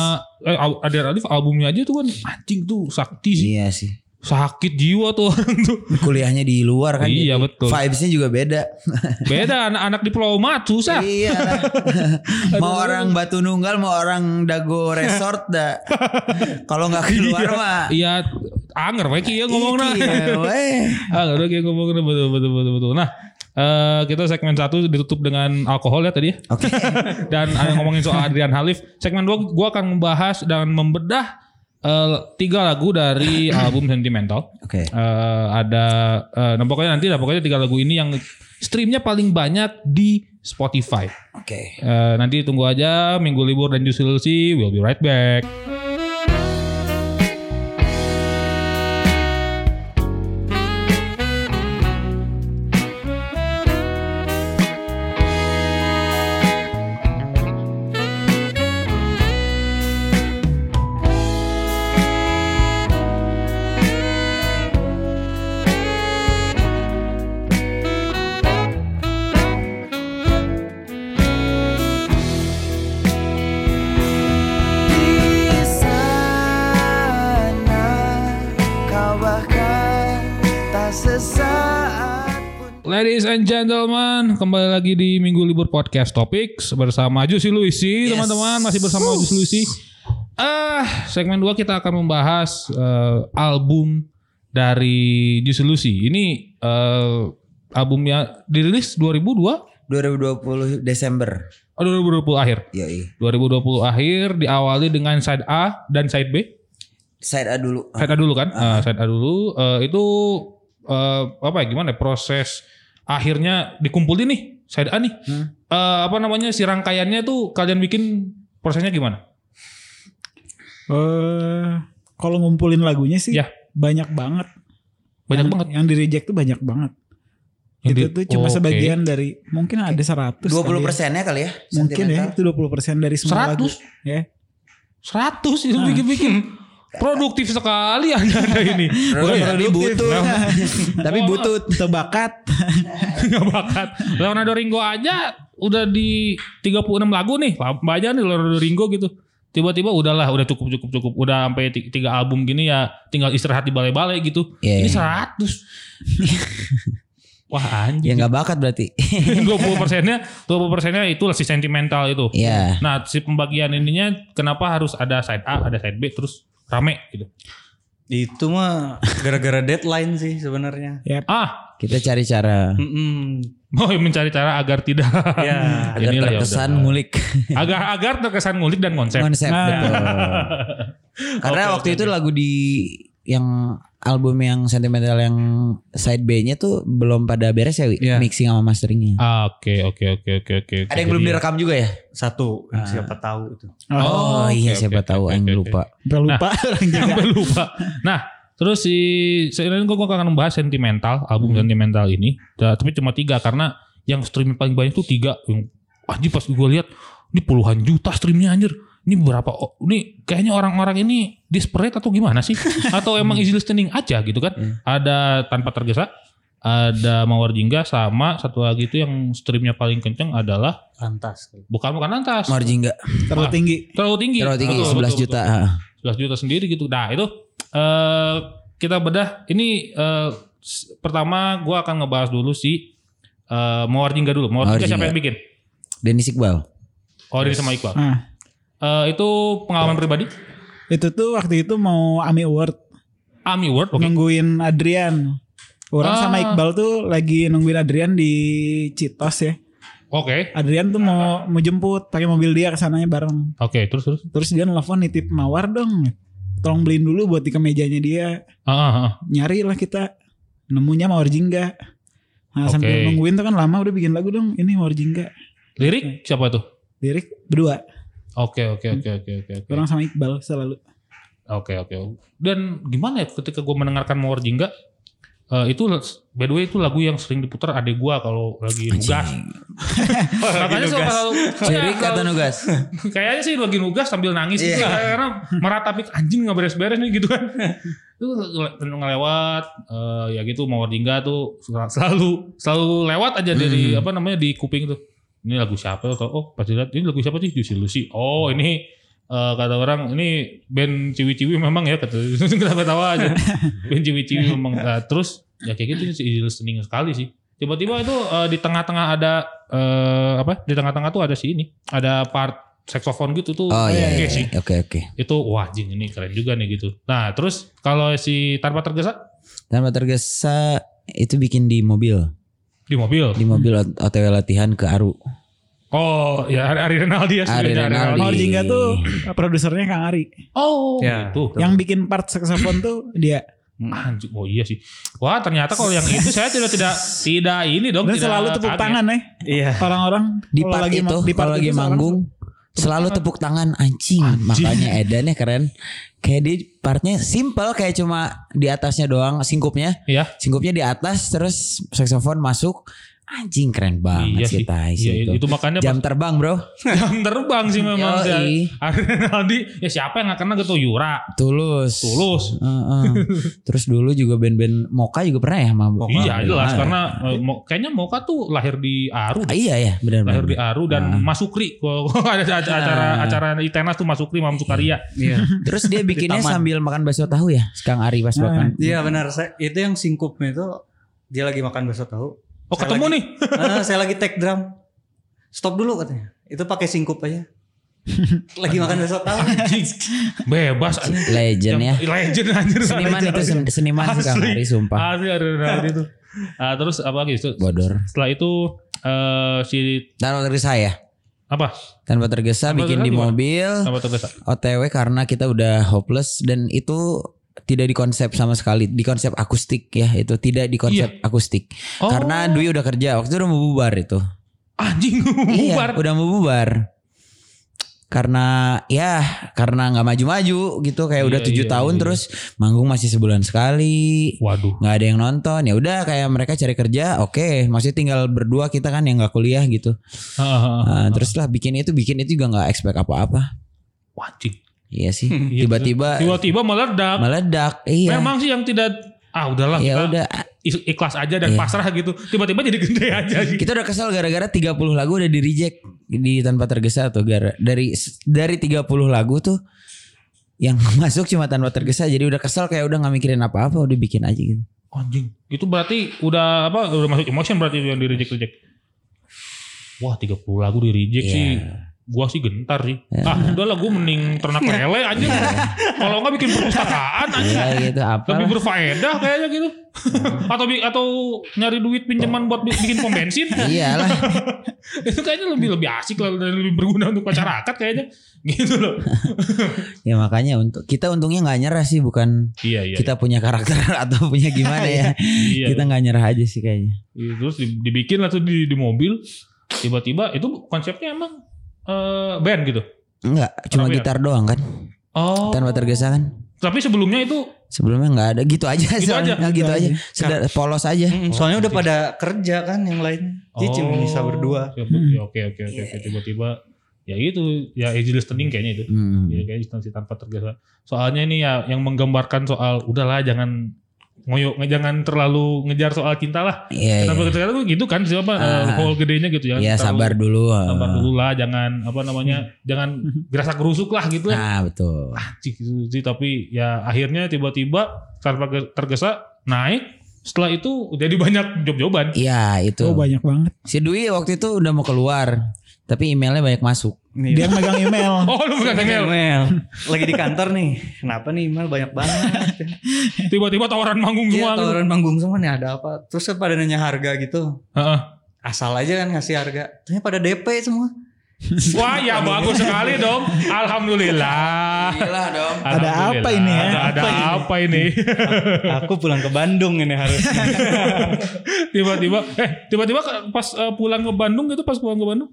Speaker 1: eh, Adrian Halif albumnya aja tuh kan anjing tuh sakti sih.
Speaker 3: iya sih.
Speaker 1: sakit jiwa tuh orang tuh.
Speaker 3: Kuliahnya di luar kan.
Speaker 1: Iya,
Speaker 3: jadi
Speaker 1: betul.
Speaker 3: Vibesnya juga beda.
Speaker 1: Beda anak-anak diplomat susah.
Speaker 3: iya. lah. mau orang Batu Nunggal, mau orang Dago Resort dah. Kalau nggak keluar mah.
Speaker 1: Iya, anger we kieu ngomongna.
Speaker 3: Iya, weh.
Speaker 1: Anger we kieu ngomongna betul betul betul betul. Nah, eh, kita segmen satu ditutup dengan alkohol ya tadi ya.
Speaker 3: Oke.
Speaker 1: Dan ada yang ngomongin soal Adrian Halif. Segmen dua gua akan membahas dan membedah eh, tiga lagu dari album Sentimental.
Speaker 3: Oke.
Speaker 1: Eh, ada eh, nah pokoknya nanti lah pokoknya tiga lagu ini yang streamnya paling banyak di Spotify.
Speaker 3: Oke.
Speaker 1: Eh, nanti tunggu aja minggu libur dan Jusil sih we'll be right back.
Speaker 4: Di sana kau bahkan tak sesaat pun
Speaker 1: Ladies and gentlemen, kembali lagi di Minggu Libur Podcast Topics bersama Jusi Luisi, teman-teman masih bersama Jusi Luisi. Ah, segmen 2 kita akan membahas eh, album dari Jusi Luisi. Ini eh, albumnya dirilis 2002
Speaker 3: 2020 Desember.
Speaker 1: Oh, 2020 akhir.
Speaker 3: Yoi.
Speaker 1: 2020 akhir diawali dengan side A dan side B.
Speaker 3: Side A dulu.
Speaker 1: Side A dulu kan? Eh, side A dulu eh, itu eh, apa ya gimana ya, proses akhirnya dikumpulin nih side A nih.
Speaker 3: Hmm.
Speaker 1: Eh, apa namanya si rangkaiannya tuh kalian bikin prosesnya gimana?
Speaker 2: Eh, kalau ngumpulin lagunya sih
Speaker 1: Ya.
Speaker 2: banyak banget.
Speaker 1: Banyak
Speaker 2: Yang-
Speaker 1: banget.
Speaker 2: Yang di reject tuh banyak banget.
Speaker 1: Yang
Speaker 2: itu
Speaker 1: di-
Speaker 2: tuh cuma
Speaker 1: Oke.
Speaker 2: sebagian dari mungkin ada 100
Speaker 3: 20
Speaker 2: kali ya.
Speaker 3: persennya kali ya.
Speaker 2: Mungkin ya
Speaker 3: sentimental.
Speaker 2: itu 20% dari semua lagu.
Speaker 1: 100
Speaker 2: Ya.
Speaker 1: 100 itu bikin-bikin produktif sekali anda ada ini.
Speaker 2: Oh,
Speaker 3: Bukan
Speaker 1: Bukan
Speaker 2: iya.
Speaker 3: perlu butut. Tapi butut.
Speaker 2: Tebakat.
Speaker 1: Gak bakat. Leonardo Ringo aja udah di 36 lagu nih. Lama aja nih Leonardo Ringo gitu. Tiba-tiba udahlah, udah cukup cukup cukup. Udah sampai ti- tiga album gini ya tinggal istirahat di balai-balai gitu.
Speaker 3: Iya,
Speaker 1: Ini
Speaker 3: iya.
Speaker 1: 100. Wah
Speaker 3: Ya
Speaker 1: anjing.
Speaker 3: nggak bakat berarti.
Speaker 1: 20 persennya, 20 persennya itu si sentimental itu.
Speaker 3: Iya.
Speaker 1: Nah si pembagian ininya kenapa harus ada side A, ada side B, terus rame gitu.
Speaker 5: Itu mah gara-gara deadline sih sebenarnya.
Speaker 1: Ah,
Speaker 3: Kita cari cara
Speaker 5: Mm-mm.
Speaker 1: mau mencari cara agar tidak.
Speaker 5: Ya.
Speaker 3: agar
Speaker 1: Inilah ya
Speaker 3: terkesan
Speaker 1: udah.
Speaker 3: ngulik
Speaker 1: agar agar terkesan ngulik dan konsep.
Speaker 3: konsep
Speaker 2: Nah.
Speaker 3: betul. Karena
Speaker 1: Oke,
Speaker 3: waktu
Speaker 1: oke,
Speaker 3: itu
Speaker 1: oke.
Speaker 3: lagu di yang album yang sentimental yang side B-nya tuh belum pada beres ya, Wi?
Speaker 5: Iya.
Speaker 3: mixing sama masteringnya.
Speaker 1: Ah, Oke oke oke oke oke. oke.
Speaker 3: Ada yang belum
Speaker 1: Jadi-
Speaker 3: direkam juga ya?
Speaker 5: Satu siapa tahu itu.
Speaker 3: Oh,
Speaker 1: oke,
Speaker 3: iya
Speaker 1: oke,
Speaker 3: siapa
Speaker 1: oke,
Speaker 3: tahu
Speaker 1: oke,
Speaker 3: yang
Speaker 1: oke.
Speaker 3: lupa.
Speaker 2: Sampai lupa
Speaker 1: Nah.
Speaker 2: orang juga.
Speaker 1: Sampai lupa. Nah, terus si sekarang gue akan membahas sentimental album
Speaker 3: Hmm.
Speaker 1: sentimental ini. Da- tapi cuma tiga karena yang streaming paling banyak tuh tiga. Yang anjir pas gue lihat ini puluhan juta streamnya anjir. Ini berapa? Oh, ini kayaknya orang-orang ini desperate atau gimana sih? atau emang easy listening aja gitu kan?
Speaker 3: Hmm.
Speaker 1: Ada tanpa tergesa, ada mawar jingga sama satu lagi itu yang streamnya paling kenceng adalah
Speaker 5: Lantas.
Speaker 1: bukan bukan lantas
Speaker 3: Margin nggak?
Speaker 2: Terlalu tinggi.
Speaker 1: terlalu tinggi
Speaker 3: Terlalu tinggi
Speaker 1: Iya. Betul,
Speaker 3: 11
Speaker 1: betul,
Speaker 3: juta.
Speaker 1: betul.
Speaker 3: ah.
Speaker 1: 11 juta sendiri gitu. Nah itu eh kita bedah. Ini eh, s- pertama gua akan ngebahas dulu si eh Mawar Jingga dulu. Mawar
Speaker 3: Mawar
Speaker 1: Jingga siapa
Speaker 3: Jingga.
Speaker 1: yang bikin?
Speaker 3: Dennis Iqbal.
Speaker 1: Oh dari sama Iqbal.
Speaker 2: Nah,
Speaker 1: Eh, itu pengalaman pribadi?
Speaker 2: itu tuh waktu itu mau AMI Award
Speaker 1: Ami Award. Oke.
Speaker 2: nungguin Adrian. Orang
Speaker 1: Ah.
Speaker 2: sama Iqbal tuh lagi nungguin Adrian di Citos ya.
Speaker 1: Oke.
Speaker 2: Adrian tuh mau mau jemput pakai mobil dia ke sananya bareng.
Speaker 1: Oke terus terus.
Speaker 2: Terus dia nelfon nitip mawar dong. Tolong beliin dulu buat di kemejanya dia.
Speaker 1: Ah, ah, ah.
Speaker 2: Nyari lah kita. Nemunya mawar jingga. Nah,
Speaker 1: Oke.
Speaker 2: sambil nungguin tuh kan lama udah bikin lagu dong. Ini mawar jingga.
Speaker 1: Lirik siapa tuh?
Speaker 2: Lirik berdua.
Speaker 1: Oke oke oke oke oke oke.
Speaker 2: Orang sama Iqbal selalu.
Speaker 1: Oke oke. Dan gimana ya ketika gua mendengarkan Mawar Jingga eh, itu by the way itu lagu yang sering diputar adik gua kalau lagi nugas. Makanya suka kalau Iya,
Speaker 3: Cirik
Speaker 1: kalau-
Speaker 3: atau nugas?
Speaker 1: kayaknya sih lagi nugas sambil nangis gitu
Speaker 3: Iya.
Speaker 1: lah. karena meratapi anjing nggak beres-beres nih gitu kan itu ngel- ngelewat eh, ya gitu mau jingga tuh sel- selalu selalu lewat aja dari apa namanya di kuping tuh ini lagu siapa tuh oh pasti lihat ini lagu siapa sih Juicy Lucy oh ini eh, kata orang ini band ciwi-ciwi memang ya kata kita ketawa aja band ciwi-ciwi memang Nah, terus ya kayak gitu sih listening sekali sih tiba-tiba itu eh, di tengah-tengah ada eh, apa di tengah-tengah tuh ada si ini ada part saxophone gitu tuh
Speaker 3: Oh iya,
Speaker 1: oke
Speaker 3: iya.
Speaker 1: sih
Speaker 3: Oke oke.
Speaker 1: itu wah jing ini keren juga nih gitu nah terus kalau si tanpa tergesa
Speaker 3: Tanpa tergesa itu bikin di mobil,
Speaker 1: di mobil
Speaker 3: di mobil ot- OTW latihan ke Aru.
Speaker 1: oh ya Ari- Ari Renaldi ya
Speaker 3: Ari
Speaker 1: sebenarnya,
Speaker 3: Renaldi.
Speaker 2: Oh Jingga tuh produsernya Kang Ari.
Speaker 1: oh
Speaker 5: Ya.
Speaker 1: gitu
Speaker 2: Yang bikin part saxophone tuh dia.
Speaker 1: Anjir, oh iya sih. Wah ternyata kalau yang itu saya tidak tidak tidak ini dong.
Speaker 2: Dan
Speaker 1: tidak
Speaker 2: selalu tepuk
Speaker 1: kaget.
Speaker 2: tangan ya.
Speaker 5: Iya.
Speaker 2: Orang-orang
Speaker 3: Di
Speaker 2: kalau
Speaker 3: part
Speaker 2: lagi ma-
Speaker 3: itu,
Speaker 2: di part
Speaker 3: kalau lagi
Speaker 2: itu seorang-
Speaker 3: manggung selalu tepuk tangan anjing. Makanya Edan ya keren. Kayak di partnya simple kayak cuma di atasnya doang singkupnya.
Speaker 1: Iya.
Speaker 3: Singkupnya di atas terus saxophone masuk. Anjing keren
Speaker 1: Iya
Speaker 3: banget sih,
Speaker 1: sih.
Speaker 3: Tai,
Speaker 1: Iya,
Speaker 3: sih
Speaker 1: itu. makanya
Speaker 3: Jam
Speaker 1: jam,
Speaker 3: terbang bro.
Speaker 1: jam terbang sih memang.
Speaker 3: Yoi.
Speaker 1: Ari Renaldi, ya siapa yang gak kena gitu Yura,
Speaker 3: Tulus.
Speaker 1: Tulus.
Speaker 3: Heeh. Terus dulu juga band-band Moka juga pernah ya sama Moka.
Speaker 1: iya jelas
Speaker 3: Ah.
Speaker 1: karena eh, Mo- kayaknya Moka tuh lahir di Aru.
Speaker 3: Ah, iya ya
Speaker 1: lahir di
Speaker 3: benar-benar.
Speaker 1: Aru
Speaker 3: Nah.
Speaker 1: dan Masukri. Kalau kalau ada ac- acara acara Itenas tuh Masukri Mam Sukaria.
Speaker 5: Iya.
Speaker 3: Terus dia bikinnya
Speaker 5: taman.
Speaker 3: sambil makan bakso tahu ya, Kang Ari
Speaker 1: Nah.
Speaker 3: pas makan.
Speaker 5: Iya benar. Saya, itu yang singkupnya itu dia lagi makan bakso tahu.
Speaker 1: Oh
Speaker 5: Saya
Speaker 1: ketemu
Speaker 5: lagi-
Speaker 1: nih.
Speaker 5: Ah, saya lagi take drum. Stop dulu katanya. Itu pakai singkup aja. lagi makan bakso tahu.
Speaker 1: Bebas anjing.
Speaker 3: Legend ya.
Speaker 1: Jam- Legend anjir.
Speaker 3: Seniman itu sen- seniman sih Kang
Speaker 1: Asli.
Speaker 3: Ari sumpah.
Speaker 1: Asli Ari Renaldi tuh. Ah, terus apa lagi? Terus-
Speaker 3: Bodor.
Speaker 1: Setelah itu eh si
Speaker 3: Tanpa tergesa ya.
Speaker 1: apa?
Speaker 3: Tanpa tergesa
Speaker 1: Tanpa
Speaker 3: bikin
Speaker 1: tergesa
Speaker 3: di
Speaker 1: gimana?
Speaker 3: mobil,
Speaker 1: Apa tergesa?
Speaker 3: OTW karena kita udah hopeless dan itu tidak dikonsep sama sekali, dikonsep akustik ya itu tidak dikonsep akustik.
Speaker 1: Oh.
Speaker 3: Karena Dwi udah kerja, waktu itu udah mau bubar itu.
Speaker 1: Anjing bubar.
Speaker 3: Iya, udah mau bubar. Karena ya karena nggak maju-maju gitu kayak udah
Speaker 1: Iya,
Speaker 3: tujuh
Speaker 1: iya,
Speaker 3: tahun
Speaker 1: iya.
Speaker 3: terus manggung masih sebulan sekali
Speaker 1: Waduh.
Speaker 3: nggak ada yang nonton ya udah kayak mereka cari kerja oke masih tinggal berdua kita kan yang nggak kuliah gitu
Speaker 1: Ah.
Speaker 3: Nah, terus lah bikin itu bikin itu juga nggak expect apa-apa
Speaker 1: Wajib.
Speaker 3: iya sih tiba-tiba
Speaker 1: Tiba-tiba meledak.
Speaker 3: meledak iya
Speaker 1: Memang sih yang tidak ah udahlah
Speaker 3: ya
Speaker 1: kita
Speaker 3: udah
Speaker 1: is- ikhlas aja dan
Speaker 3: Iya.
Speaker 1: pasrah gitu. Tiba-tiba jadi gede aja gitu. sih.
Speaker 3: kita udah kesel gara-gara 30 lagu udah di reject di tanpa tergesa tuh gara dari dari 30 lagu tuh yang masuk cuma tanpa tergesa jadi udah kesel kayak udah nggak mikirin apa-apa udah bikin aja gitu
Speaker 1: Anjing. Itu berarti udah apa? Udah masuk emotion berarti yang di reject reject. Wah 30 lagu di reject
Speaker 3: Iya.
Speaker 1: sih. Gua sih gentar sih. Ah udahlah gua mending ternak lele anjing.
Speaker 3: Iya.
Speaker 1: Kalau nggak bikin perpustakaan anjing.
Speaker 3: ya gitu apa
Speaker 1: Lebih berfaedah kayaknya gitu.
Speaker 3: Iya.
Speaker 1: atau bi- atau nyari duit pinjaman buat bi- bikin pom bensin.
Speaker 3: iyalah
Speaker 1: itu kayaknya lebih lebih asik lah dan lebih berguna untuk masyarakat kayaknya. Gitu loh.
Speaker 3: ya makanya untuk kita untungnya nggak nyerah sih bukan
Speaker 1: Iya iya.
Speaker 3: kita punya karakter atau punya gimana ya
Speaker 1: iya.
Speaker 3: kita nggak nyerah aja sih kayaknya
Speaker 1: Iya, Terus di- dibikin lah tuh di, di mobil tiba-tiba itu konsepnya emang eh, band gitu.
Speaker 3: Enggak,
Speaker 1: Kenapa
Speaker 3: cuma
Speaker 1: ya?
Speaker 3: gitar doang kan
Speaker 1: Oh.
Speaker 3: tanpa tergesa kan
Speaker 1: Tapi sebelumnya itu
Speaker 3: sebelumnya nggak ada gitu aja
Speaker 1: Gitu
Speaker 3: soalnya.
Speaker 1: aja.
Speaker 3: gitu aja Sedar- polos aja
Speaker 5: Mm, Soalnya udah pada kerja kan yang lain. Dia cuma bisa berdua.
Speaker 1: Siap- oh, ya, Oke oke oke oke. tiba-tiba ya itu ya easy listening kayaknya itu.
Speaker 3: Hmm.
Speaker 1: Ya kayak instansi tanpa tergesa. Soalnya ini ya yang menggambarkan soal udahlah jangan ngoyok nge- jangan terlalu ngejar soal cinta lah.
Speaker 3: Iya, iya.
Speaker 1: Tanpa tergesa tuh gitu kan siapa uh,
Speaker 3: Ah.
Speaker 1: hall gedenya gitu ya.
Speaker 3: Ya sabar Hmm. dulu.
Speaker 1: Sabar dulu lah jangan apa namanya jangan gerasa gerusuk lah gitu lah.
Speaker 3: Nah betul.
Speaker 1: Cik, gitu sih, tapi ya akhirnya tiba-tiba tanpa ge- tergesa naik setelah itu jadi banyak job-joban.
Speaker 3: Iya itu.
Speaker 2: Oh banyak banget.
Speaker 3: si Dwi waktu itu udah mau keluar, tapi emailnya banyak masuk.
Speaker 2: Dia yang megang email.
Speaker 1: Oh lu bukan email.
Speaker 5: Email. email. Lagi di kantor nih. Kenapa nih email banyak banget?
Speaker 1: Tiba-tiba tawaran manggung
Speaker 5: Iya,
Speaker 1: semua. gitu.
Speaker 5: tawaran manggung semua nih ada apa? Terus kan pada nanya harga gitu.
Speaker 1: Heeh.
Speaker 5: Asal aja kan ngasih harga. Ternyata pada DP semua.
Speaker 1: Wah ya bagus sekali dong. Alhamdulillah.
Speaker 3: Iyalah dong.
Speaker 2: Ada
Speaker 1: Alhamdulillah.
Speaker 2: apa ini ya?
Speaker 1: Ada, ada apa ini?
Speaker 5: Aku pulang ke Bandung ini harusnya.
Speaker 1: tiba-tiba, eh tiba-tiba ke- pas eh, pulang ke Bandung itu pas pulang ke Bandung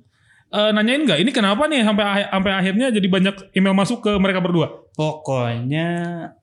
Speaker 1: eh, nanyain nggak ini kenapa nih sampai ah- sampai akhirnya jadi banyak email masuk ke mereka berdua?
Speaker 5: Pokoknya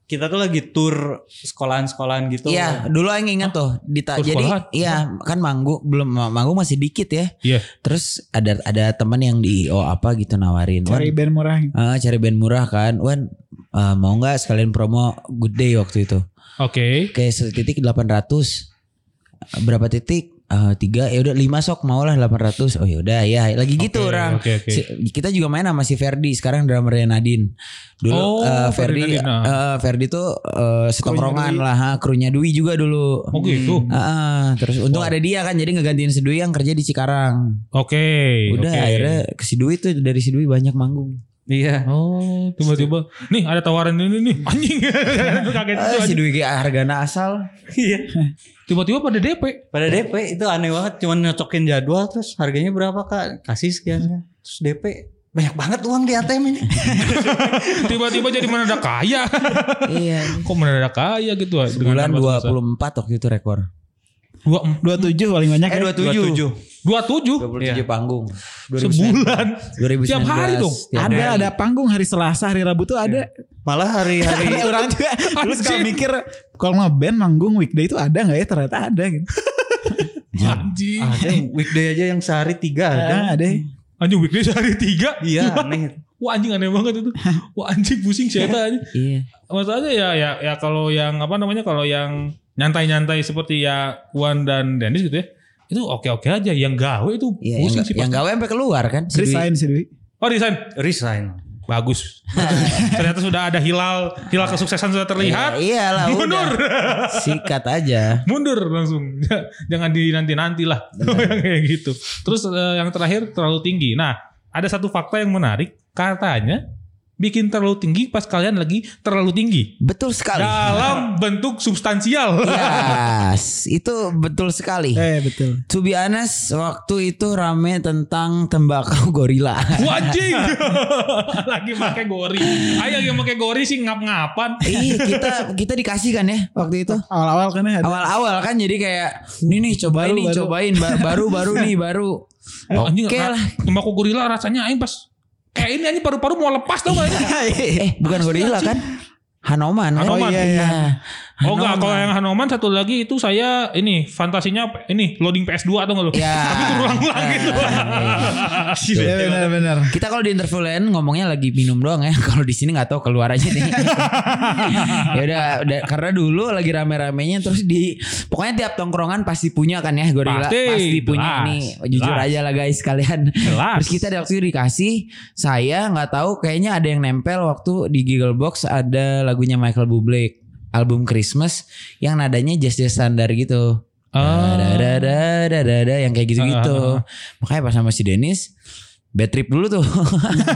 Speaker 5: kita tuh lagi tur sekolahan-sekolahan gitu.
Speaker 3: Iya, dulu yang ingat tuh. Dita,
Speaker 1: terus
Speaker 3: jadi
Speaker 1: sekolahan?
Speaker 3: iya kan manggung belum manggung masih dikit ya.
Speaker 1: Iya.
Speaker 3: Terus ada ada teman yang di IO apa gitu nawarin. Wan,
Speaker 2: Cari band murah.
Speaker 3: ah, cari band murah kan. Wan ah, mau nggak sekalian promo Good Day waktu itu.
Speaker 1: Oke.
Speaker 3: Kayak setitik 800. Berapa titik? eh, tiga ya udah lima sok maulah 800 oh ya udah ya lagi gitu
Speaker 1: Oke,
Speaker 3: orang
Speaker 1: Oke oke.
Speaker 3: Si- kita juga main sama si Ferdi sekarang drummernya Nadine
Speaker 1: Oh,
Speaker 3: dulu eh,
Speaker 1: Ferdi
Speaker 3: Ferdi
Speaker 1: Nadine, ah.
Speaker 3: eh, Ferdi tuh eh, setongkrongan
Speaker 2: Dwi.
Speaker 3: lah ha, krunya Dwi juga dulu
Speaker 1: Oh gitu.
Speaker 3: Ah, ah. terus untung
Speaker 1: Wow.
Speaker 3: ada dia kan jadi ngegantiin si Dwi yang kerja di Cikarang
Speaker 1: Oke.
Speaker 3: udah
Speaker 1: oke.
Speaker 3: akhirnya ke si Dwi tuh dari si Dwi banyak manggung
Speaker 5: Iya.
Speaker 1: Oh, tiba-tiba nih ada tawaran ini nih. Anjing. Itu kaget
Speaker 3: Ah,
Speaker 1: itu
Speaker 3: si
Speaker 1: anjing.
Speaker 3: Dwi kayak Hargana asal
Speaker 5: Iya.
Speaker 1: Tiba-tiba pada DP.
Speaker 5: Pada DP itu aneh banget cuman nyocokin jadwal terus harganya berapa Kak? Kasih sekian sekian. Terus DP banyak banget uang di ATM ini.
Speaker 1: Tiba-tiba jadi mendadak kaya.
Speaker 3: iya
Speaker 1: Kok mendadak kaya gitu ah,
Speaker 3: bulan
Speaker 1: dengan tanpa
Speaker 3: 24 waktu itu rekor
Speaker 1: sebesar.
Speaker 2: dua tujuh paling banyak
Speaker 3: eh
Speaker 2: ya.
Speaker 3: 27
Speaker 1: 27
Speaker 3: 27 panggung 2019.
Speaker 1: sebulan.
Speaker 3: 2019
Speaker 1: Tiap hari dong.
Speaker 3: tiap
Speaker 2: ada
Speaker 3: hari.
Speaker 2: ada panggung hari Selasa hari Rabu tuh ada
Speaker 5: Malah hari-hari
Speaker 2: Eh, orang juga dulu suka
Speaker 1: Anjing.
Speaker 2: mikir kalau mah band manggung weekday itu ada nggak ya ternyata ada gitu
Speaker 1: Anjing.
Speaker 5: ada yang weekday aja yang sehari tiga ada.
Speaker 2: ada ya? ada
Speaker 1: Anjing weekday sehari tiga.
Speaker 5: Iya aneh.
Speaker 1: Wah anjing aneh banget itu. Wah anjing pusing siapa anjing.
Speaker 3: iya
Speaker 1: Masalahnya ya ya ya kalau yang apa namanya kalau yang nyantai-nyantai seperti ya Wan dan Dennis gitu ya. Itu oke-oke aja. Yang gawe itu
Speaker 3: Iya, yang,
Speaker 1: pusing
Speaker 3: ga-
Speaker 1: sih.
Speaker 3: yang
Speaker 1: pasti.
Speaker 3: gawe sampai keluar kan. si Dwi.
Speaker 2: resign sih Dwi
Speaker 1: Oh resign.
Speaker 5: Resign.
Speaker 1: Bagus. Ternyata sudah ada hilal, hilal kesuksesan sudah terlihat.
Speaker 3: Iya, iyalah udah.
Speaker 1: Mundur.
Speaker 3: Sikat aja.
Speaker 1: Mundur langsung. Jangan di nanti-nanti lah. Kayak gitu. Terus eh, yang terakhir terlalu tinggi. Nah, ada satu fakta yang menarik. Katanya bikin terlalu tinggi pas kalian lagi terlalu tinggi.
Speaker 3: Betul sekali.
Speaker 1: Dalam bentuk
Speaker 3: Iya.
Speaker 1: substansial.
Speaker 3: Yes, itu betul sekali.
Speaker 2: eh betul
Speaker 3: To be honest, waktu itu rame tentang tembakau gorila.
Speaker 1: Wajing. lagi pakai gori. Ayo yang pakai gori sih ngap-ngapan.
Speaker 3: Ih, Iya, kita kita dikasih kan ya waktu itu.
Speaker 2: awal-awal kan ya ada
Speaker 3: Awal-awal kan jadi kayak ini nih cobain
Speaker 2: Baru,
Speaker 3: nih
Speaker 2: baru.
Speaker 3: cobain Ba- baru baru nih baru. Oke
Speaker 1: Anjing, ra-
Speaker 3: lah.
Speaker 1: tembakau gorila rasanya aing pas kayak ini anjing paru-paru mau lepas tau gak anjing?
Speaker 3: Eh, bukan gorila kan? Hanoman. kan?
Speaker 1: Hanoman.
Speaker 3: iya, iya.
Speaker 1: Oh enggak,
Speaker 3: Hanoman.
Speaker 1: kalau yang Hanoman satu lagi itu saya ini fantasinya p- ini loading PS2 atau enggak lu?
Speaker 3: Ya.
Speaker 1: Tapi terulang-ulang
Speaker 3: Ya.
Speaker 1: gitu.
Speaker 2: Iya benar-benar
Speaker 3: Kita kalau di interview lain ngomongnya lagi minum doang ya. Kalau di sini nggak tahu keluar aja nih. ya udah, udah, karena dulu lagi rame-ramenya terus di pokoknya tiap tongkrongan pasti punya kan ya gorila.
Speaker 1: Pasti,
Speaker 3: punya
Speaker 1: jelas,
Speaker 3: ini. Jujur
Speaker 1: jelas.
Speaker 3: aja lah guys kalian.
Speaker 1: Jelas.
Speaker 3: Terus kita waktu itu dikasih saya nggak tahu kayaknya ada yang nempel waktu di Giggle Box ada lagunya Michael Bublé album Christmas yang nadanya jazz jazz standar gitu.
Speaker 1: Ah.
Speaker 3: Dadadadadadada, yang kayak
Speaker 1: Ah,
Speaker 3: gitu-gitu. Makanya pas sama si Dennis bad trip dulu tuh.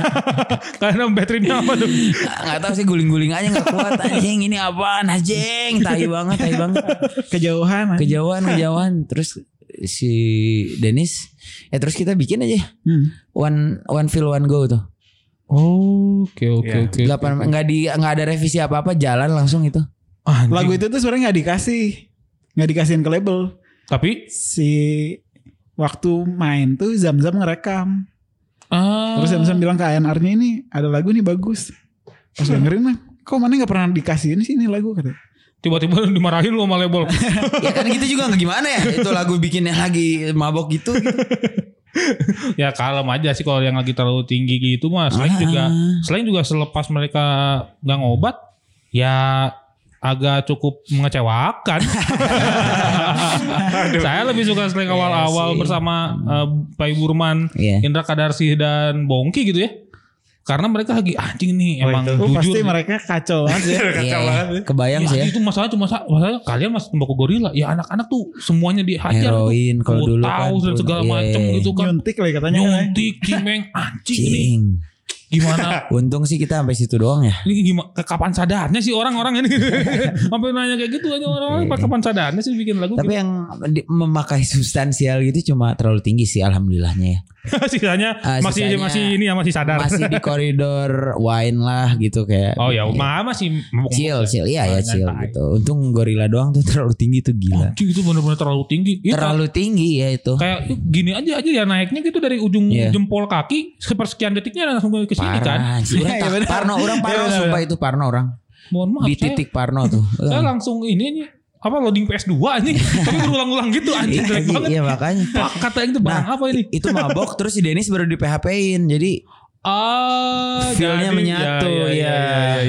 Speaker 1: Karena baterainya apa tuh?
Speaker 3: nggak tahu sih guling-guling aja nggak kuat anjing ini apaan anjing tai banget tai banget
Speaker 2: kejauhan anjing.
Speaker 3: kejauhan kejauhan terus si Dennis eh terus kita bikin aja
Speaker 2: Hmm.
Speaker 3: one one feel one go tuh
Speaker 1: Oke, oke,
Speaker 5: Ya.
Speaker 1: oke.
Speaker 3: delapan nggak di nggak ada revisi apa apa jalan langsung itu
Speaker 1: Ah, Anjing.
Speaker 2: lagu itu tuh sebenarnya nggak dikasih nggak dikasihin ke label
Speaker 1: Tapi
Speaker 2: si waktu main tuh Zam-Zam ngerekam
Speaker 1: ah.
Speaker 2: terus Zam-Zam bilang ke ANR-nya ini ada lagu nih bagus pas dengerin lah kok mana nggak pernah dikasihin sih ini lagu katanya
Speaker 1: tiba-tiba dimarahin lu sama label.
Speaker 3: ya kan gitu juga nggak gimana ya itu lagu bikinnya lagi mabok gitu, gitu.
Speaker 1: ya kalem aja sih kalau yang lagi terlalu tinggi gitu mah selain
Speaker 3: Ah.
Speaker 1: juga selain juga selepas mereka nggak ngobat ya agak cukup mengecewakan saya lebih suka selain
Speaker 3: Iya
Speaker 1: awal-awal
Speaker 3: sih. Hmm.
Speaker 1: bersama eh, Pak Burman
Speaker 3: Iya.
Speaker 1: Indra Kadarsi dan Bongki gitu ya karena mereka lagi "Ah, anjing nih
Speaker 5: Oh,
Speaker 1: emang
Speaker 5: itu.
Speaker 2: Oh,
Speaker 1: jujur
Speaker 2: pasti
Speaker 1: nih.
Speaker 2: mereka kacau banget sih.
Speaker 3: Iya,
Speaker 5: banget.
Speaker 3: kebayang
Speaker 1: Ya,
Speaker 3: sih ya
Speaker 1: anjing, itu masalah cuma sa- masalah kalian mas tembakau gorila ya anak-anak tuh semuanya dihajar
Speaker 3: Heroin
Speaker 1: tuh.
Speaker 3: kalau dulu
Speaker 1: tahu
Speaker 3: kan,
Speaker 1: dan segala
Speaker 3: iya,
Speaker 1: macem
Speaker 3: iya.
Speaker 1: gitu kan
Speaker 2: nyuntik lagi katanya kan.
Speaker 1: nyuntik cimeng anjing ini
Speaker 3: Cing.
Speaker 1: gimana
Speaker 3: untung sih kita sampai situ doang ya
Speaker 1: ini gimana kapan sadarnya sih orang-orang ini sampai nanya kayak gitu aja orang-orang "Pak, kapan sadarnya sih bikin lagu
Speaker 3: Iya. tapi yang di- memakai substansial gitu cuma terlalu tinggi sih alhamdulillahnya ya
Speaker 1: sisanya
Speaker 3: Ah,
Speaker 1: masih
Speaker 3: sisanya-
Speaker 1: masih ini ya masih sadar
Speaker 3: masih di koridor wine lah gitu kayak
Speaker 1: oh ya
Speaker 3: Iya.
Speaker 1: mah masih mabuk
Speaker 3: chill chill iya ya
Speaker 1: Nyantai.
Speaker 3: chill gitu untung gorila doang tuh terlalu tinggi tuh gila
Speaker 1: Anjing, itu benar-benar terlalu tinggi Iya,
Speaker 3: Iya. terlalu tinggi ya itu
Speaker 1: kayak "Ih, gini aja aja ya naiknya gitu dari ujung
Speaker 3: Iya.
Speaker 1: jempol kaki sepersekian detiknya langsung ke sini kan
Speaker 3: parah anjir. Orang
Speaker 2: Iya,
Speaker 3: tak-
Speaker 2: bener.
Speaker 3: Parno orang
Speaker 2: Iya,
Speaker 3: Parno
Speaker 2: bener,
Speaker 3: sumpah itu Parno orang
Speaker 1: mohon maaf
Speaker 3: di
Speaker 1: saya-
Speaker 3: titik Parno tuh
Speaker 1: saya, langsung ini ini, apa loading PS2 anjing tapi berulang-ulang gitu anjing
Speaker 3: Iya, Nah.
Speaker 1: jelek banget
Speaker 3: iya makanya
Speaker 1: Pak, kata yang itu barang apa ini
Speaker 3: itu mabok terus si Dennis baru di PHP-in jadi
Speaker 1: ah
Speaker 3: Feel-nya
Speaker 1: jadi-
Speaker 3: menyatu, ya.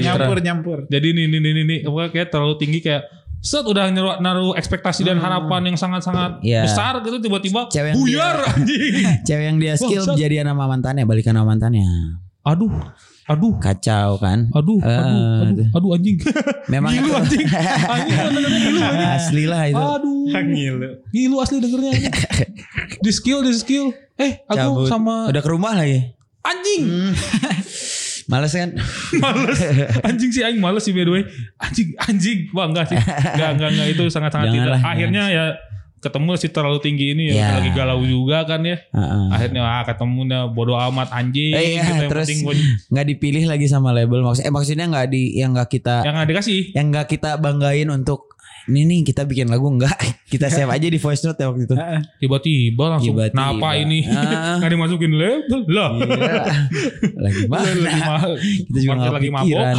Speaker 2: nyampur nyampur
Speaker 1: Jadi ini ini ini ini apa kayak terlalu tinggi kayak set udah nyeru- naruh ekspektasi dan harapan yang sangat-sangat
Speaker 3: Hmm. Iya.
Speaker 1: besar gitu tiba-tiba
Speaker 3: Cewek yang
Speaker 1: buyar anjing.
Speaker 3: Cewek yang dia skill
Speaker 1: Bangsat.
Speaker 3: jadian sama mantannya, balikan sama mantannya.
Speaker 1: Aduh, aduh,
Speaker 3: Kacau kan?
Speaker 1: aduh, aduh,
Speaker 3: Eh,
Speaker 1: aduh, aduh anjing.
Speaker 3: Memang
Speaker 1: Gilu
Speaker 3: itu
Speaker 1: Oh, anjing. Ah, Anjing bener-bener gilu anjing.
Speaker 3: asli lah itu.
Speaker 1: Aduh.
Speaker 5: Gila.
Speaker 1: Gilu asli dengernya. anjing. Di skill, di skill. Eh, aku
Speaker 3: Cabut.
Speaker 1: sama
Speaker 3: Udah ke rumah lagi.
Speaker 1: anjing.
Speaker 3: Males kan?
Speaker 1: Males. Anjing sih aing males sih by the way. Anjing, anjing. Wah, enggak sih. Enggak, enggak, enggak itu sangat-sangat
Speaker 3: Jangan
Speaker 1: tidak.
Speaker 3: lah,
Speaker 1: Akhirnya ya ketemu sih terlalu tinggi ini
Speaker 3: Ya.
Speaker 1: ya, lagi galau juga kan ya.
Speaker 3: Heeh.
Speaker 1: Akhirnya ah ketemu dah bodo amat anjing
Speaker 3: Nah.
Speaker 1: gitu,
Speaker 3: Eh, iya,
Speaker 1: yang
Speaker 3: terus-
Speaker 1: penting gua-
Speaker 3: Nggak dipilih lagi sama label maksudnya eh, maksudnya nggak di yang nggak kita
Speaker 1: yang ada kasih.
Speaker 3: yang nggak kita banggain untuk ini nih kita bikin lagu enggak kita save aja di voice note ya waktu itu.
Speaker 1: Tiba-tiba langsung
Speaker 3: Tiba-tiba.
Speaker 1: kenapa ini?
Speaker 3: Ah. Iya.
Speaker 1: Enggak dimasukin label. Lah.
Speaker 3: Gila. lagi
Speaker 1: Lagi
Speaker 3: mana?
Speaker 1: mahal.
Speaker 3: Kita juga
Speaker 1: Market
Speaker 3: nggak
Speaker 1: lagi mabok.
Speaker 3: pikiran.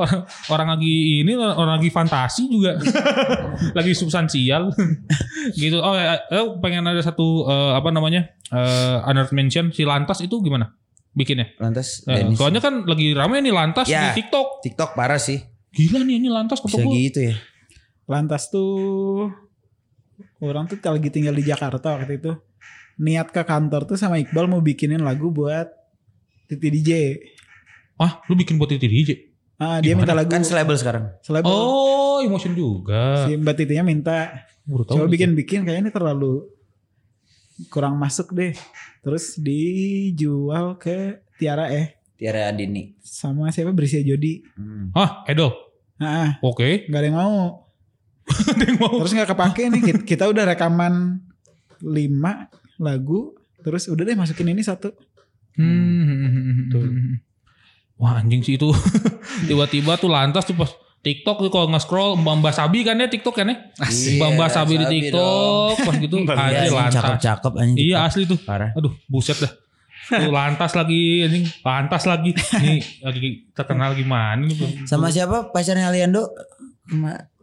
Speaker 1: orang, orang lagi ini orang lagi fantasi juga lagi substansial gitu oh ya, eh, pengen ada satu eh, apa namanya eh unearth mention si lantas itu gimana bikinnya
Speaker 3: Lantas
Speaker 1: Eh,
Speaker 3: Dennis.
Speaker 1: soalnya kan lagi rame nih lantas
Speaker 3: Ya.
Speaker 1: di tiktok
Speaker 3: TikTok parah sih.
Speaker 1: gila nih ini lantas
Speaker 3: Bisa
Speaker 1: kata gua.
Speaker 3: gitu ya.
Speaker 2: Lantas tuh orang tuh lagi tinggal di Jakarta waktu itu. Niat ke kantor tuh sama Iqbal mau bikinin lagu buat Titi DJ.
Speaker 1: ah lu bikin buat titi DJ
Speaker 2: Ah, dia minta
Speaker 1: Gimana?
Speaker 2: lagu
Speaker 3: Kan selebel sekarang.
Speaker 2: selebel.
Speaker 1: oh emotion juga
Speaker 2: Si Mbak Titinya minta
Speaker 1: baru tahu
Speaker 2: coba
Speaker 1: nih.
Speaker 2: bikin-bikin kayaknya ini terlalu kurang masuk deh. Terus dijual ke Tiara eh
Speaker 3: Tiara Adini.
Speaker 2: sama siapa Brisia Jodi. Ah,
Speaker 3: Hmm.
Speaker 1: Hah, Edo
Speaker 2: Heeh,
Speaker 1: oke
Speaker 2: nggak ada yang mau.
Speaker 1: Ada yang mau
Speaker 2: Terus nggak kepake nih kita, kita udah rekaman 5 lagu terus udah deh masukin ini satu.
Speaker 1: Hmm.
Speaker 2: Tuh.
Speaker 1: Wah anjing sih itu. Tiba-tiba tuh lantas tuh pas TikTok tuh kalau nge-scroll Mbak Mbak Sabi kan ya TikTok kan ya.
Speaker 3: Asik.
Speaker 1: Mbak Mbak Sabi di
Speaker 3: Sabi
Speaker 1: Tiktok pas gitu
Speaker 3: Iya,
Speaker 1: anjing
Speaker 3: ini
Speaker 1: lantas.
Speaker 3: cakep-cakep anjing.
Speaker 1: Iya
Speaker 3: TikTok.
Speaker 1: asli tuh.
Speaker 3: Parah.
Speaker 1: Aduh buset dah. Tuh lantas lagi anjing, lantas lagi. Nih lagi terkenal gimana gitu. nih.
Speaker 3: Sama siapa pacarnya Aliando?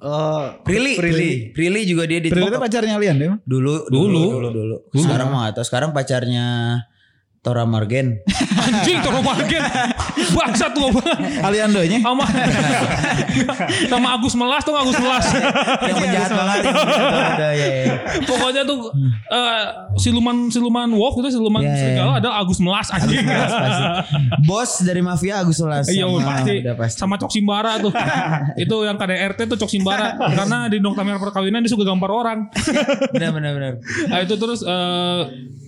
Speaker 5: Oh,
Speaker 3: Prilly.
Speaker 5: Prilly.
Speaker 3: Prilly juga dia di
Speaker 2: Ternyata
Speaker 3: TikTok.
Speaker 2: pacarnya Lian ya? deh.
Speaker 3: Dulu,
Speaker 1: Dulu.
Speaker 3: dulu, dulu.
Speaker 1: Dulu.
Speaker 3: Sekarang mah atau sekarang pacarnya Tora Margen.
Speaker 1: Anjing Toro Margen. Bangsat tuh banget.
Speaker 2: Aliandonya
Speaker 1: Sama sama Agus Melas tuh Agus Melas.
Speaker 3: yang
Speaker 1: Iya,
Speaker 3: penjahat banget. yang penjahat banget, ya, ya, ya.
Speaker 1: Pokoknya tuh eh, siluman siluman wolf itu siluman
Speaker 3: Iya, iya,
Speaker 1: serigala ada Agus Melas anjing.
Speaker 3: Melas pasti. Bos dari mafia Agus Ulas.
Speaker 1: Iya
Speaker 3: Sama-
Speaker 1: pasti.
Speaker 3: udah pasti.
Speaker 1: sama Cok Simbara tuh. itu yang KDRT tuh Cok Simbara karena di dong kamera perkawinan dia suka gambar orang.
Speaker 3: Benar benar benar.
Speaker 1: Nah, itu terus eh,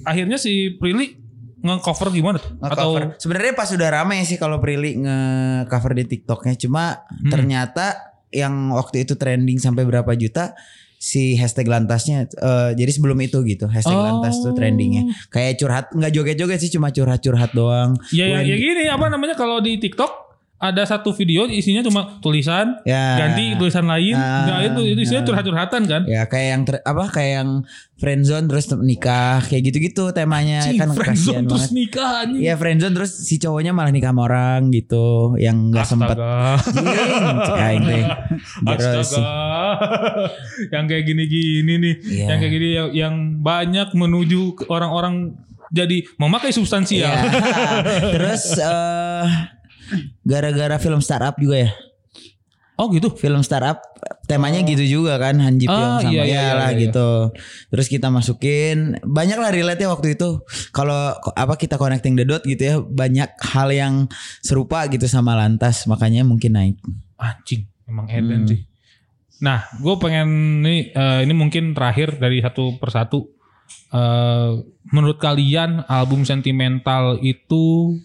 Speaker 1: akhirnya si Prilly nge-cover gimana tuh? Atau
Speaker 3: Nge-cover. Sebenarnya pas udah rame sih kalau Prilly nge-cover di TikToknya. Cuma
Speaker 1: Hmm.
Speaker 3: ternyata yang waktu itu trending sampai berapa juta si hashtag lantasnya eh, jadi sebelum itu gitu hashtag
Speaker 1: Oh.
Speaker 3: lantas tuh trendingnya kayak curhat nggak joget-joget sih cuma curhat-curhat doang
Speaker 1: ya, ya,
Speaker 3: When-
Speaker 1: ya gini apa namanya kalau di TikTok ada satu video isinya cuma tulisan
Speaker 3: ya
Speaker 1: ganti tulisan lain.
Speaker 3: Ah,
Speaker 1: Nah, itu itu isinya
Speaker 3: ah.
Speaker 1: curhat-curhatan kan?
Speaker 3: ya kayak yang ter- apa kayak yang friendzone terus nikah kayak gitu-gitu temanya
Speaker 1: Cing,
Speaker 3: kan
Speaker 1: friendzone
Speaker 3: kasihan
Speaker 1: terus
Speaker 3: banget
Speaker 1: nikah anjing.
Speaker 3: Iya friendzone terus si cowoknya malah nikah sama orang gitu yang nggak sempet
Speaker 1: Astaga.
Speaker 3: ya itu terus
Speaker 1: Astaga. yang kayak gini-gini nih,
Speaker 3: Iya.
Speaker 1: yang kayak gini yang, yang banyak menuju ke orang-orang jadi memakai ya. substansial.
Speaker 3: Iya. terus eh, gara-gara film startup juga ya
Speaker 1: Oh gitu.
Speaker 3: film startup temanya gitu juga kan Han Ji Pyong
Speaker 1: Oh. Ah,
Speaker 3: sama
Speaker 1: iya, iya,
Speaker 3: ya lah
Speaker 1: iya, iya.
Speaker 3: gitu terus kita masukin banyak lah relate nya waktu itu kalau ko- apa kita connecting the dot gitu ya banyak hal yang serupa gitu sama lantas makanya mungkin naik
Speaker 1: Anjing, emang Eden
Speaker 3: Hmm.
Speaker 1: sih. Nah, gue pengen nih eh, ini mungkin terakhir dari satu persatu. Eh, menurut kalian album sentimental itu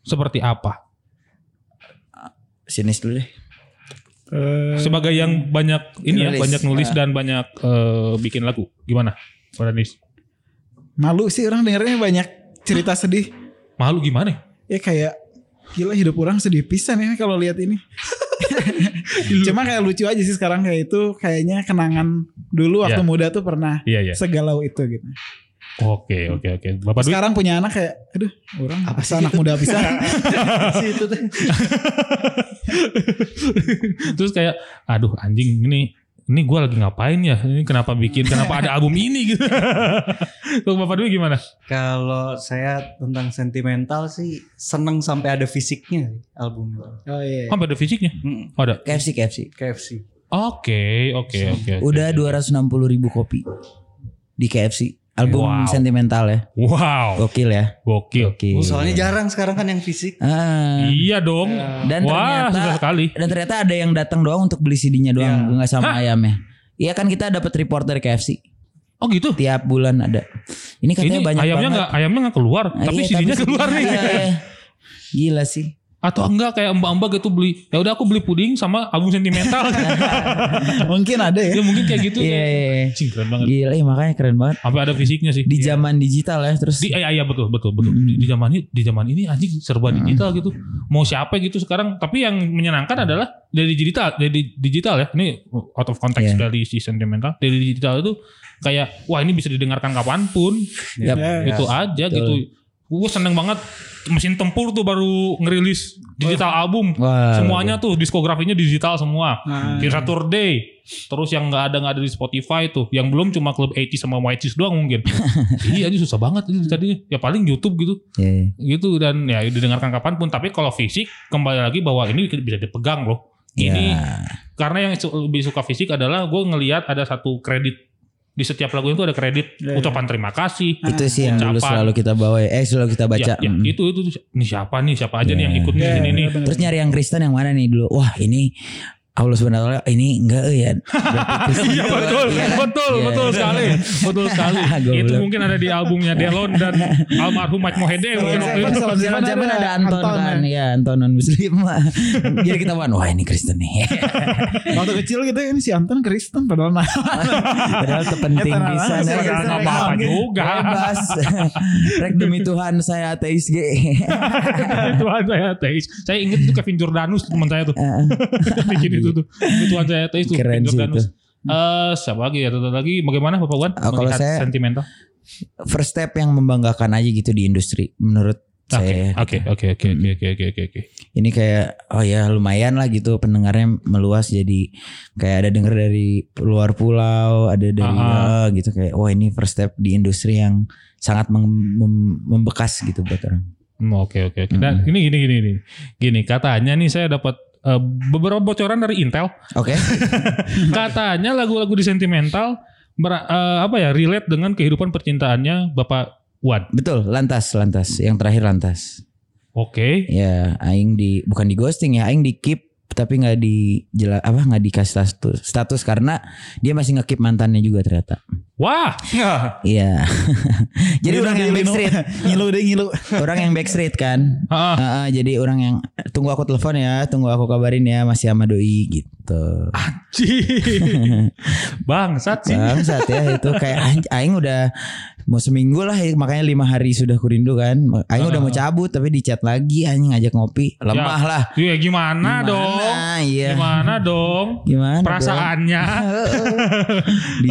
Speaker 1: seperti apa?
Speaker 3: sinis dulu deh
Speaker 1: Sebagai yang banyak ini ya,
Speaker 3: Nulis. Iya.
Speaker 1: banyak nulis dan banyak eh, bikin lagu. Gimana? Baranis?
Speaker 2: malu sih orang dengernya banyak cerita sedih.
Speaker 1: Malu gimana? ya?
Speaker 2: Ya kayak gila hidup orang sedih pisan ya kalau lihat ini. Cuma kayak lucu aja sih sekarang kayak itu kayaknya kenangan dulu waktu
Speaker 1: Ya.
Speaker 2: muda tuh pernah
Speaker 1: Iya iya.
Speaker 2: segalau itu gitu.
Speaker 1: Oke oke oke. Bapak Dwi
Speaker 2: Sekarang punya anak kayak aduh orang apa sih anak muda pisan.
Speaker 5: si itu tuh.
Speaker 1: terus kayak aduh anjing ini ini gue lagi ngapain ya? Ini kenapa bikin? Kenapa ada album ini gitu? Kalau bapak dulu gimana?
Speaker 5: Kalau saya tentang sentimental sih seneng sampai ada fisiknya album itu.
Speaker 2: Oh iya.
Speaker 1: Sampai ada fisiknya?
Speaker 5: Mm-mm.
Speaker 1: Ada.
Speaker 3: KFC KFC.
Speaker 5: KFC.
Speaker 1: Oke, oke, oke. oke.
Speaker 3: Udah 260 ribu kopi di KFC. Album
Speaker 1: Wow. Iya.
Speaker 3: sentimental ya.
Speaker 1: Wow,
Speaker 3: Gokil ya.
Speaker 1: gokil.
Speaker 3: Gokil.
Speaker 5: Soalnya jarang sekarang kan yang fisik.
Speaker 3: Ah.
Speaker 1: Iya dong.
Speaker 3: Dan
Speaker 1: Wah,
Speaker 3: ternyata
Speaker 1: susah sekali.
Speaker 3: dan ternyata ada yang datang doang untuk beli CD-nya doang, nggak sama ayamnya. Iya kan kita dapat report dari KFC.
Speaker 1: Oh gitu.
Speaker 3: Tiap bulan ada. Ini katanya
Speaker 1: Ini
Speaker 3: banyak
Speaker 1: ayamnya
Speaker 3: banget.
Speaker 1: nggak ayamnya nggak keluar,
Speaker 3: Ah,
Speaker 1: tapi
Speaker 3: iya,
Speaker 1: CD-nya
Speaker 3: tapi
Speaker 1: keluar nih.
Speaker 3: CD-nya, iya. Gila sih.
Speaker 1: Atau enggak kayak mbak-mbak gitu beli. Ya udah aku beli puding sama album sentimental.
Speaker 2: Mungkin ada ya.
Speaker 1: ya mungkin kayak gitu.
Speaker 3: Iya,
Speaker 1: ya.
Speaker 3: iya, iya.
Speaker 1: Cing, keren banget.
Speaker 3: Gila, iya, makanya keren banget.
Speaker 1: Sampai ada fisiknya sih.
Speaker 3: Di
Speaker 1: Iya.
Speaker 3: zaman digital ya, terus
Speaker 1: di iya, iya betul betul betul di di zaman ini di zaman ini anjing serba digital gitu mau siapa gitu sekarang tapi yang menyenangkan adalah dari digital dari digital ya ini out of context
Speaker 3: Iya.
Speaker 1: dari si sentimental dari digital itu kayak wah ini bisa didengarkan kapanpun
Speaker 3: Yap.
Speaker 2: Iya,
Speaker 1: itu aja gitu gue seneng banget mesin tempur tuh baru ngerilis digital album
Speaker 3: Wah,
Speaker 1: semuanya tuh diskografinya digital semua
Speaker 2: Ah.
Speaker 1: Kira Today terus yang nggak ada nggak ada di Spotify tuh yang belum cuma Club 80 sama Whiteys doang mungkin iya aja susah banget itu tadinya ya paling YouTube gitu
Speaker 3: Iya, iya.
Speaker 1: gitu dan ya didengarkan kapanpun tapi kalau fisik kembali lagi bahwa ini bisa dipegang loh ini
Speaker 3: Ya.
Speaker 1: karena yang su- lebih suka fisik adalah gue ngelihat ada satu kredit di setiap lagu itu ada kredit
Speaker 2: Iya, iya.
Speaker 1: ucapan terima kasih
Speaker 3: Ya, itu sih yang dulu
Speaker 1: ucapan.
Speaker 3: selalu kita bawa ya. Eh, selalu kita Ah, baca.
Speaker 1: Ya, ya,
Speaker 3: Mm.
Speaker 1: itu itu ini siapa nih siapa aja nih yang ikut nih
Speaker 2: Iya,
Speaker 1: ini nih
Speaker 2: bener-bener.
Speaker 3: Terus nyari yang Kristen yang mana nih dulu? Wah, ini Allah sebenarnya ini enggak eh, ya.
Speaker 1: Iya betul, betul,
Speaker 3: Iya.
Speaker 1: betul sekali, betul sekali.
Speaker 3: Goblok.
Speaker 1: Itu mungkin ada di albumnya Delon dan almarhum Mike Mohede mungkin waktu
Speaker 3: iya.
Speaker 1: itu.
Speaker 2: Seven,
Speaker 3: Zaman zaman ada Anton, kan, ya Anton non Muslim. Jadi kita bawa, wah ini Kristen nih.
Speaker 2: Waktu kecil gitu ini si Anton Kristen padahal nah.
Speaker 3: Padahal
Speaker 1: Iya,
Speaker 3: terpenting
Speaker 2: Ya,
Speaker 3: di
Speaker 2: tenang,
Speaker 3: sana.
Speaker 2: tenang,
Speaker 1: Padahal nggak apa-apa
Speaker 3: Iya.
Speaker 1: juga.
Speaker 3: Bebas. Rek demi Tuhan saya ateis G. Iya.
Speaker 1: Tuhan saya ateis. ya, Saya ingat itu Kevin Jordanus teman saya tuh. Bikin itu tuh. Itu Tuhan saya ateis tuh.
Speaker 3: Ah, Iya. Keren
Speaker 1: Kevin
Speaker 3: sih
Speaker 1: Jordanus. Eh, siapa lagi ya? Satu lagi bagaimana Bapak Wan?
Speaker 3: Ah, kalau
Speaker 1: melihat
Speaker 3: saya-
Speaker 1: sentimental.
Speaker 3: First step yang membanggakan aja gitu di industri menurut
Speaker 1: Oke,
Speaker 3: saya. ya.
Speaker 1: oke, oke, oke, oke, oke, oke, oke, oke.
Speaker 3: Ini kayak oh ya lumayan lah gitu pendengarnya meluas jadi kayak ada denger dari luar pulau, ada dari
Speaker 1: Ah,
Speaker 3: eh, gitu kayak wah ini first step di industri yang sangat mem- mem- membekas gitu buat orang.
Speaker 1: Hmm, Oke, oke, oke. Dan
Speaker 3: Mm.
Speaker 1: ini gini gini gini. Gini katanya nih saya dapat eh, beberapa bocoran dari Intel
Speaker 3: Oke.
Speaker 1: Katanya lagu-lagu di sentimental ber- eh, apa ya relate dengan kehidupan percintaannya Bapak Wan.
Speaker 3: Betul, lantas lantas yang terakhir lantas.
Speaker 1: Oke.
Speaker 3: Ya, aing di bukan di ghosting ya, aing di keep tapi nggak di jela- apa nggak dikasih status, status karena dia masih ngekeep mantannya juga ternyata.
Speaker 1: Wah,
Speaker 3: Iya. jadi
Speaker 2: Dia
Speaker 3: orang
Speaker 2: udah
Speaker 3: yang
Speaker 2: ngilu.
Speaker 3: backstreet,
Speaker 2: iya, Ngilu deh ngilu.
Speaker 3: orang yang backstreet kan.
Speaker 1: ah,
Speaker 3: Heeh, jadi orang yang tunggu aku telepon ya, tunggu aku kabarin ya masih sama doi gitu.
Speaker 1: cih. Bangsat sih.
Speaker 3: Bangsat ya itu kayak anj- aing udah mau seminggu lah ya, makanya lima hari sudah kurindu kan. Aing udah mau cabut tapi di chat lagi aing ngajak ngopi. Lemah lah.
Speaker 1: Ya
Speaker 2: Nah
Speaker 1: gimana, dong?
Speaker 3: Gimana? Iya.
Speaker 1: Gimana dong?
Speaker 3: Gimana? dong?
Speaker 1: Perasaannya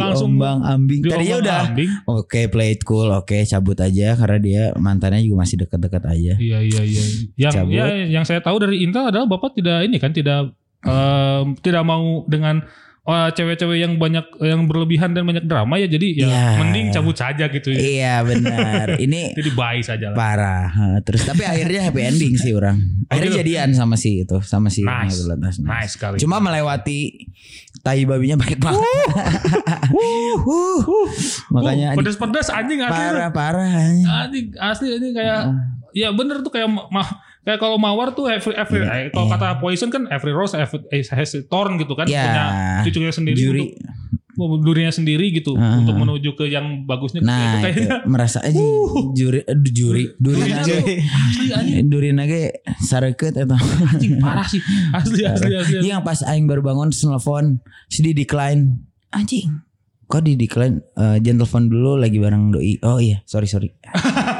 Speaker 1: Langsung
Speaker 3: Langsung bang ambing. Tadinya
Speaker 1: diomong
Speaker 3: udah
Speaker 1: ambing.
Speaker 3: oke play it cool, oke cabut aja karena dia mantannya juga masih deket-deket aja.
Speaker 1: Iya iya iya. Yang
Speaker 3: Cabut.
Speaker 1: ya, yang saya tahu dari Intel adalah Bapak tidak ini kan tidak eh, tidak mau dengan eh, cewek-cewek yang banyak yang berlebihan dan banyak drama ya jadi ya
Speaker 3: Iya.
Speaker 1: mending cabut saja gitu ya.
Speaker 3: Iya benar. Ini
Speaker 1: Jadi baik saja lah.
Speaker 3: parah. Ha, Terus tapi akhirnya happy ending sih orang.
Speaker 1: gitu.
Speaker 3: Akhirnya jadian sama si itu, sama si
Speaker 1: Nice.
Speaker 3: Nurul Atas.
Speaker 1: Nice sekali.
Speaker 3: Cuma melewati tai babinya baik banget. Wuh. Makanya
Speaker 1: Uh, pedes-pedes anjing asli.
Speaker 3: parah parah.
Speaker 1: Anjing Ah, asli anjing kayak ya bener tuh kayak ma ma- kayak kalau mawar tuh every every eh, kalau
Speaker 3: iya.
Speaker 1: kata poison kan every rose every, has a thorn gitu kan
Speaker 3: Iya.
Speaker 1: punya cucunya sendiri
Speaker 3: Juri.
Speaker 1: untuk oh, durinya sendiri gitu
Speaker 3: Ah.
Speaker 1: untuk menuju ke yang bagusnya
Speaker 3: Nah,
Speaker 1: gitu
Speaker 3: itu
Speaker 1: kayaknya. Uh.
Speaker 3: merasa aja juri eh, juri durina
Speaker 1: Durina
Speaker 3: ge-
Speaker 1: Asli anjing
Speaker 3: durina ge sareukeut eta.
Speaker 1: anjing parah sih. Asli asli asli. asli.
Speaker 3: ya Iya, yang pas aing baru bangun terus nelfon si di decline. Anjing. Kok di decline? Eh, jangan telepon dulu lagi bareng doi. Oh iya, sorry sorry.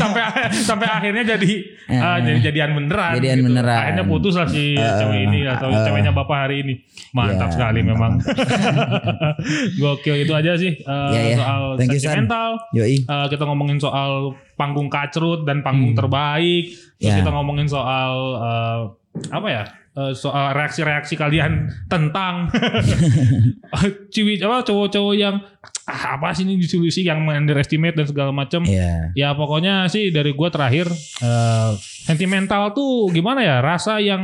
Speaker 1: sampai sampai akhirnya jadi
Speaker 3: Eh.
Speaker 1: ah, jadi jadian beneran gitu.
Speaker 3: Jadian beneran.
Speaker 1: akhirnya putus lah si cewek ini atau
Speaker 3: eh.
Speaker 1: ceweknya bapak hari ini mantap
Speaker 3: Ya,
Speaker 1: sekali
Speaker 3: mantap,
Speaker 1: memang gokil itu aja sih eh,
Speaker 3: Ya, ya.
Speaker 1: soal
Speaker 3: Thank you, San.
Speaker 1: sentimental
Speaker 3: Yoi.
Speaker 1: Eh, kita ngomongin soal panggung kacrut dan panggung terbaik terus
Speaker 3: Hmm. Ya.
Speaker 1: kita ngomongin soal eh, apa ya eh, soal reaksi-reaksi kalian tentang ciwi apa cowok-cowok yang "Ah, apa sih ini disolusi yang underestimate dan segala macam.
Speaker 3: Iya.
Speaker 1: Ya pokoknya sih dari gua terakhir eh, sentimental tuh gimana ya rasa yang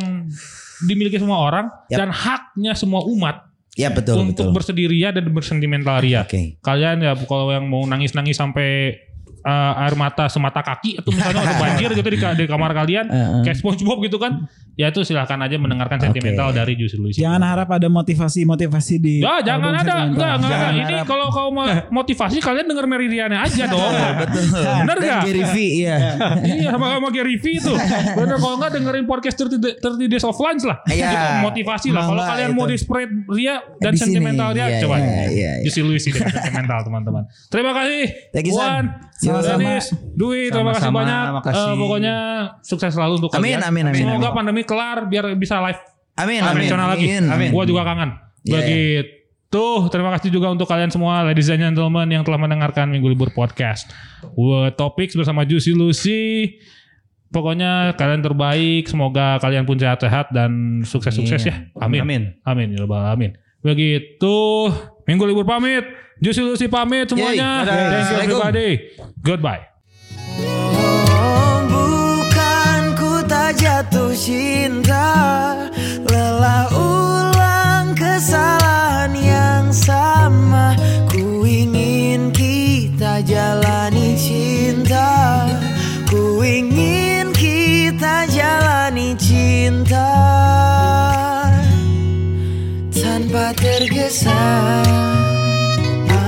Speaker 1: dimiliki semua orang
Speaker 3: Yap.
Speaker 1: dan haknya semua umat
Speaker 3: Ya betul
Speaker 1: untuk
Speaker 3: betul.
Speaker 1: bersedia dan bersentimentalia
Speaker 3: Oke.
Speaker 1: kalian ya kalau yang mau nangis-nangis sampai eh, air mata semata kaki atau misalnya ada banjir gitu di, ka- di kamar kalian
Speaker 3: Heeh.
Speaker 1: kayak SpongeBob gitu kan ya itu silahkan aja mendengarkan sentimental dari Juice Lucy
Speaker 2: Jangan harap ada motivasi-motivasi di
Speaker 1: Ya, jangan
Speaker 2: album
Speaker 1: ada, enggak,
Speaker 2: sentimental.
Speaker 1: enggak,
Speaker 3: Jangan
Speaker 1: enggak. Ini
Speaker 3: harap.
Speaker 1: kalau kau mau motivasi kalian denger Meridiana aja dong.
Speaker 3: Betul.
Speaker 1: Bener
Speaker 3: Dan
Speaker 1: gak?
Speaker 3: Gary V, iya.
Speaker 1: iya, sama sama Gary V itu. Bener kalau enggak dengerin podcast 30, 30 Days of Lunch lah.
Speaker 3: Iya.
Speaker 1: Itu kan motivasi lah.
Speaker 3: Mau
Speaker 1: Kalau
Speaker 3: nggak
Speaker 1: kalian mau
Speaker 3: itu.
Speaker 1: di spread Ria dan
Speaker 3: Di sini.
Speaker 1: sentimental Ria
Speaker 3: Iya,
Speaker 1: coba.
Speaker 3: iya, iya, iya.
Speaker 1: Juice Lucy dan sentimental teman-teman. Terima kasih.
Speaker 3: Thank you, San.
Speaker 1: Wan,
Speaker 3: Sama-sama.
Speaker 1: Denis, Dwi, terima kasih
Speaker 5: Sama-sama,
Speaker 1: banyak.
Speaker 5: makasih.
Speaker 1: Eh, pokoknya sukses selalu untuk
Speaker 3: Amin,
Speaker 1: kalian.
Speaker 3: amin, amin,
Speaker 1: Semoga
Speaker 3: amin.
Speaker 1: pandemi kelar biar bisa live
Speaker 3: Amin, amin.
Speaker 1: konvensional lagi.
Speaker 3: amin.
Speaker 1: Gua juga kangen.
Speaker 3: Iya,
Speaker 1: Begitu. Terima kasih juga untuk kalian semua ladies and gentlemen yang telah mendengarkan Minggu Libur Podcast. Wah, Topik bersama Juicy Lucy. Pokoknya kalian terbaik. Semoga kalian pun sehat-sehat dan sukses-sukses ya. Amin. Amin.
Speaker 5: Amin.
Speaker 1: ya Rabbal Alamin. Begitu. Minggu Libur pamit. Juicy Lucy pamit semuanya.
Speaker 3: Yay. Dadah.
Speaker 1: Thank you
Speaker 3: Assalamualaikum.
Speaker 1: everybody. Goodbye.
Speaker 4: Oh, bukan ku tak jatuh cinta Lelah ulang kesalahan yang sama Ku ingin kita jalani cinta Ku ingin kita jalani cinta Tanpa tergesa Ah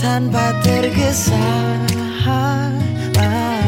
Speaker 4: tanpa tergesa ah, ah.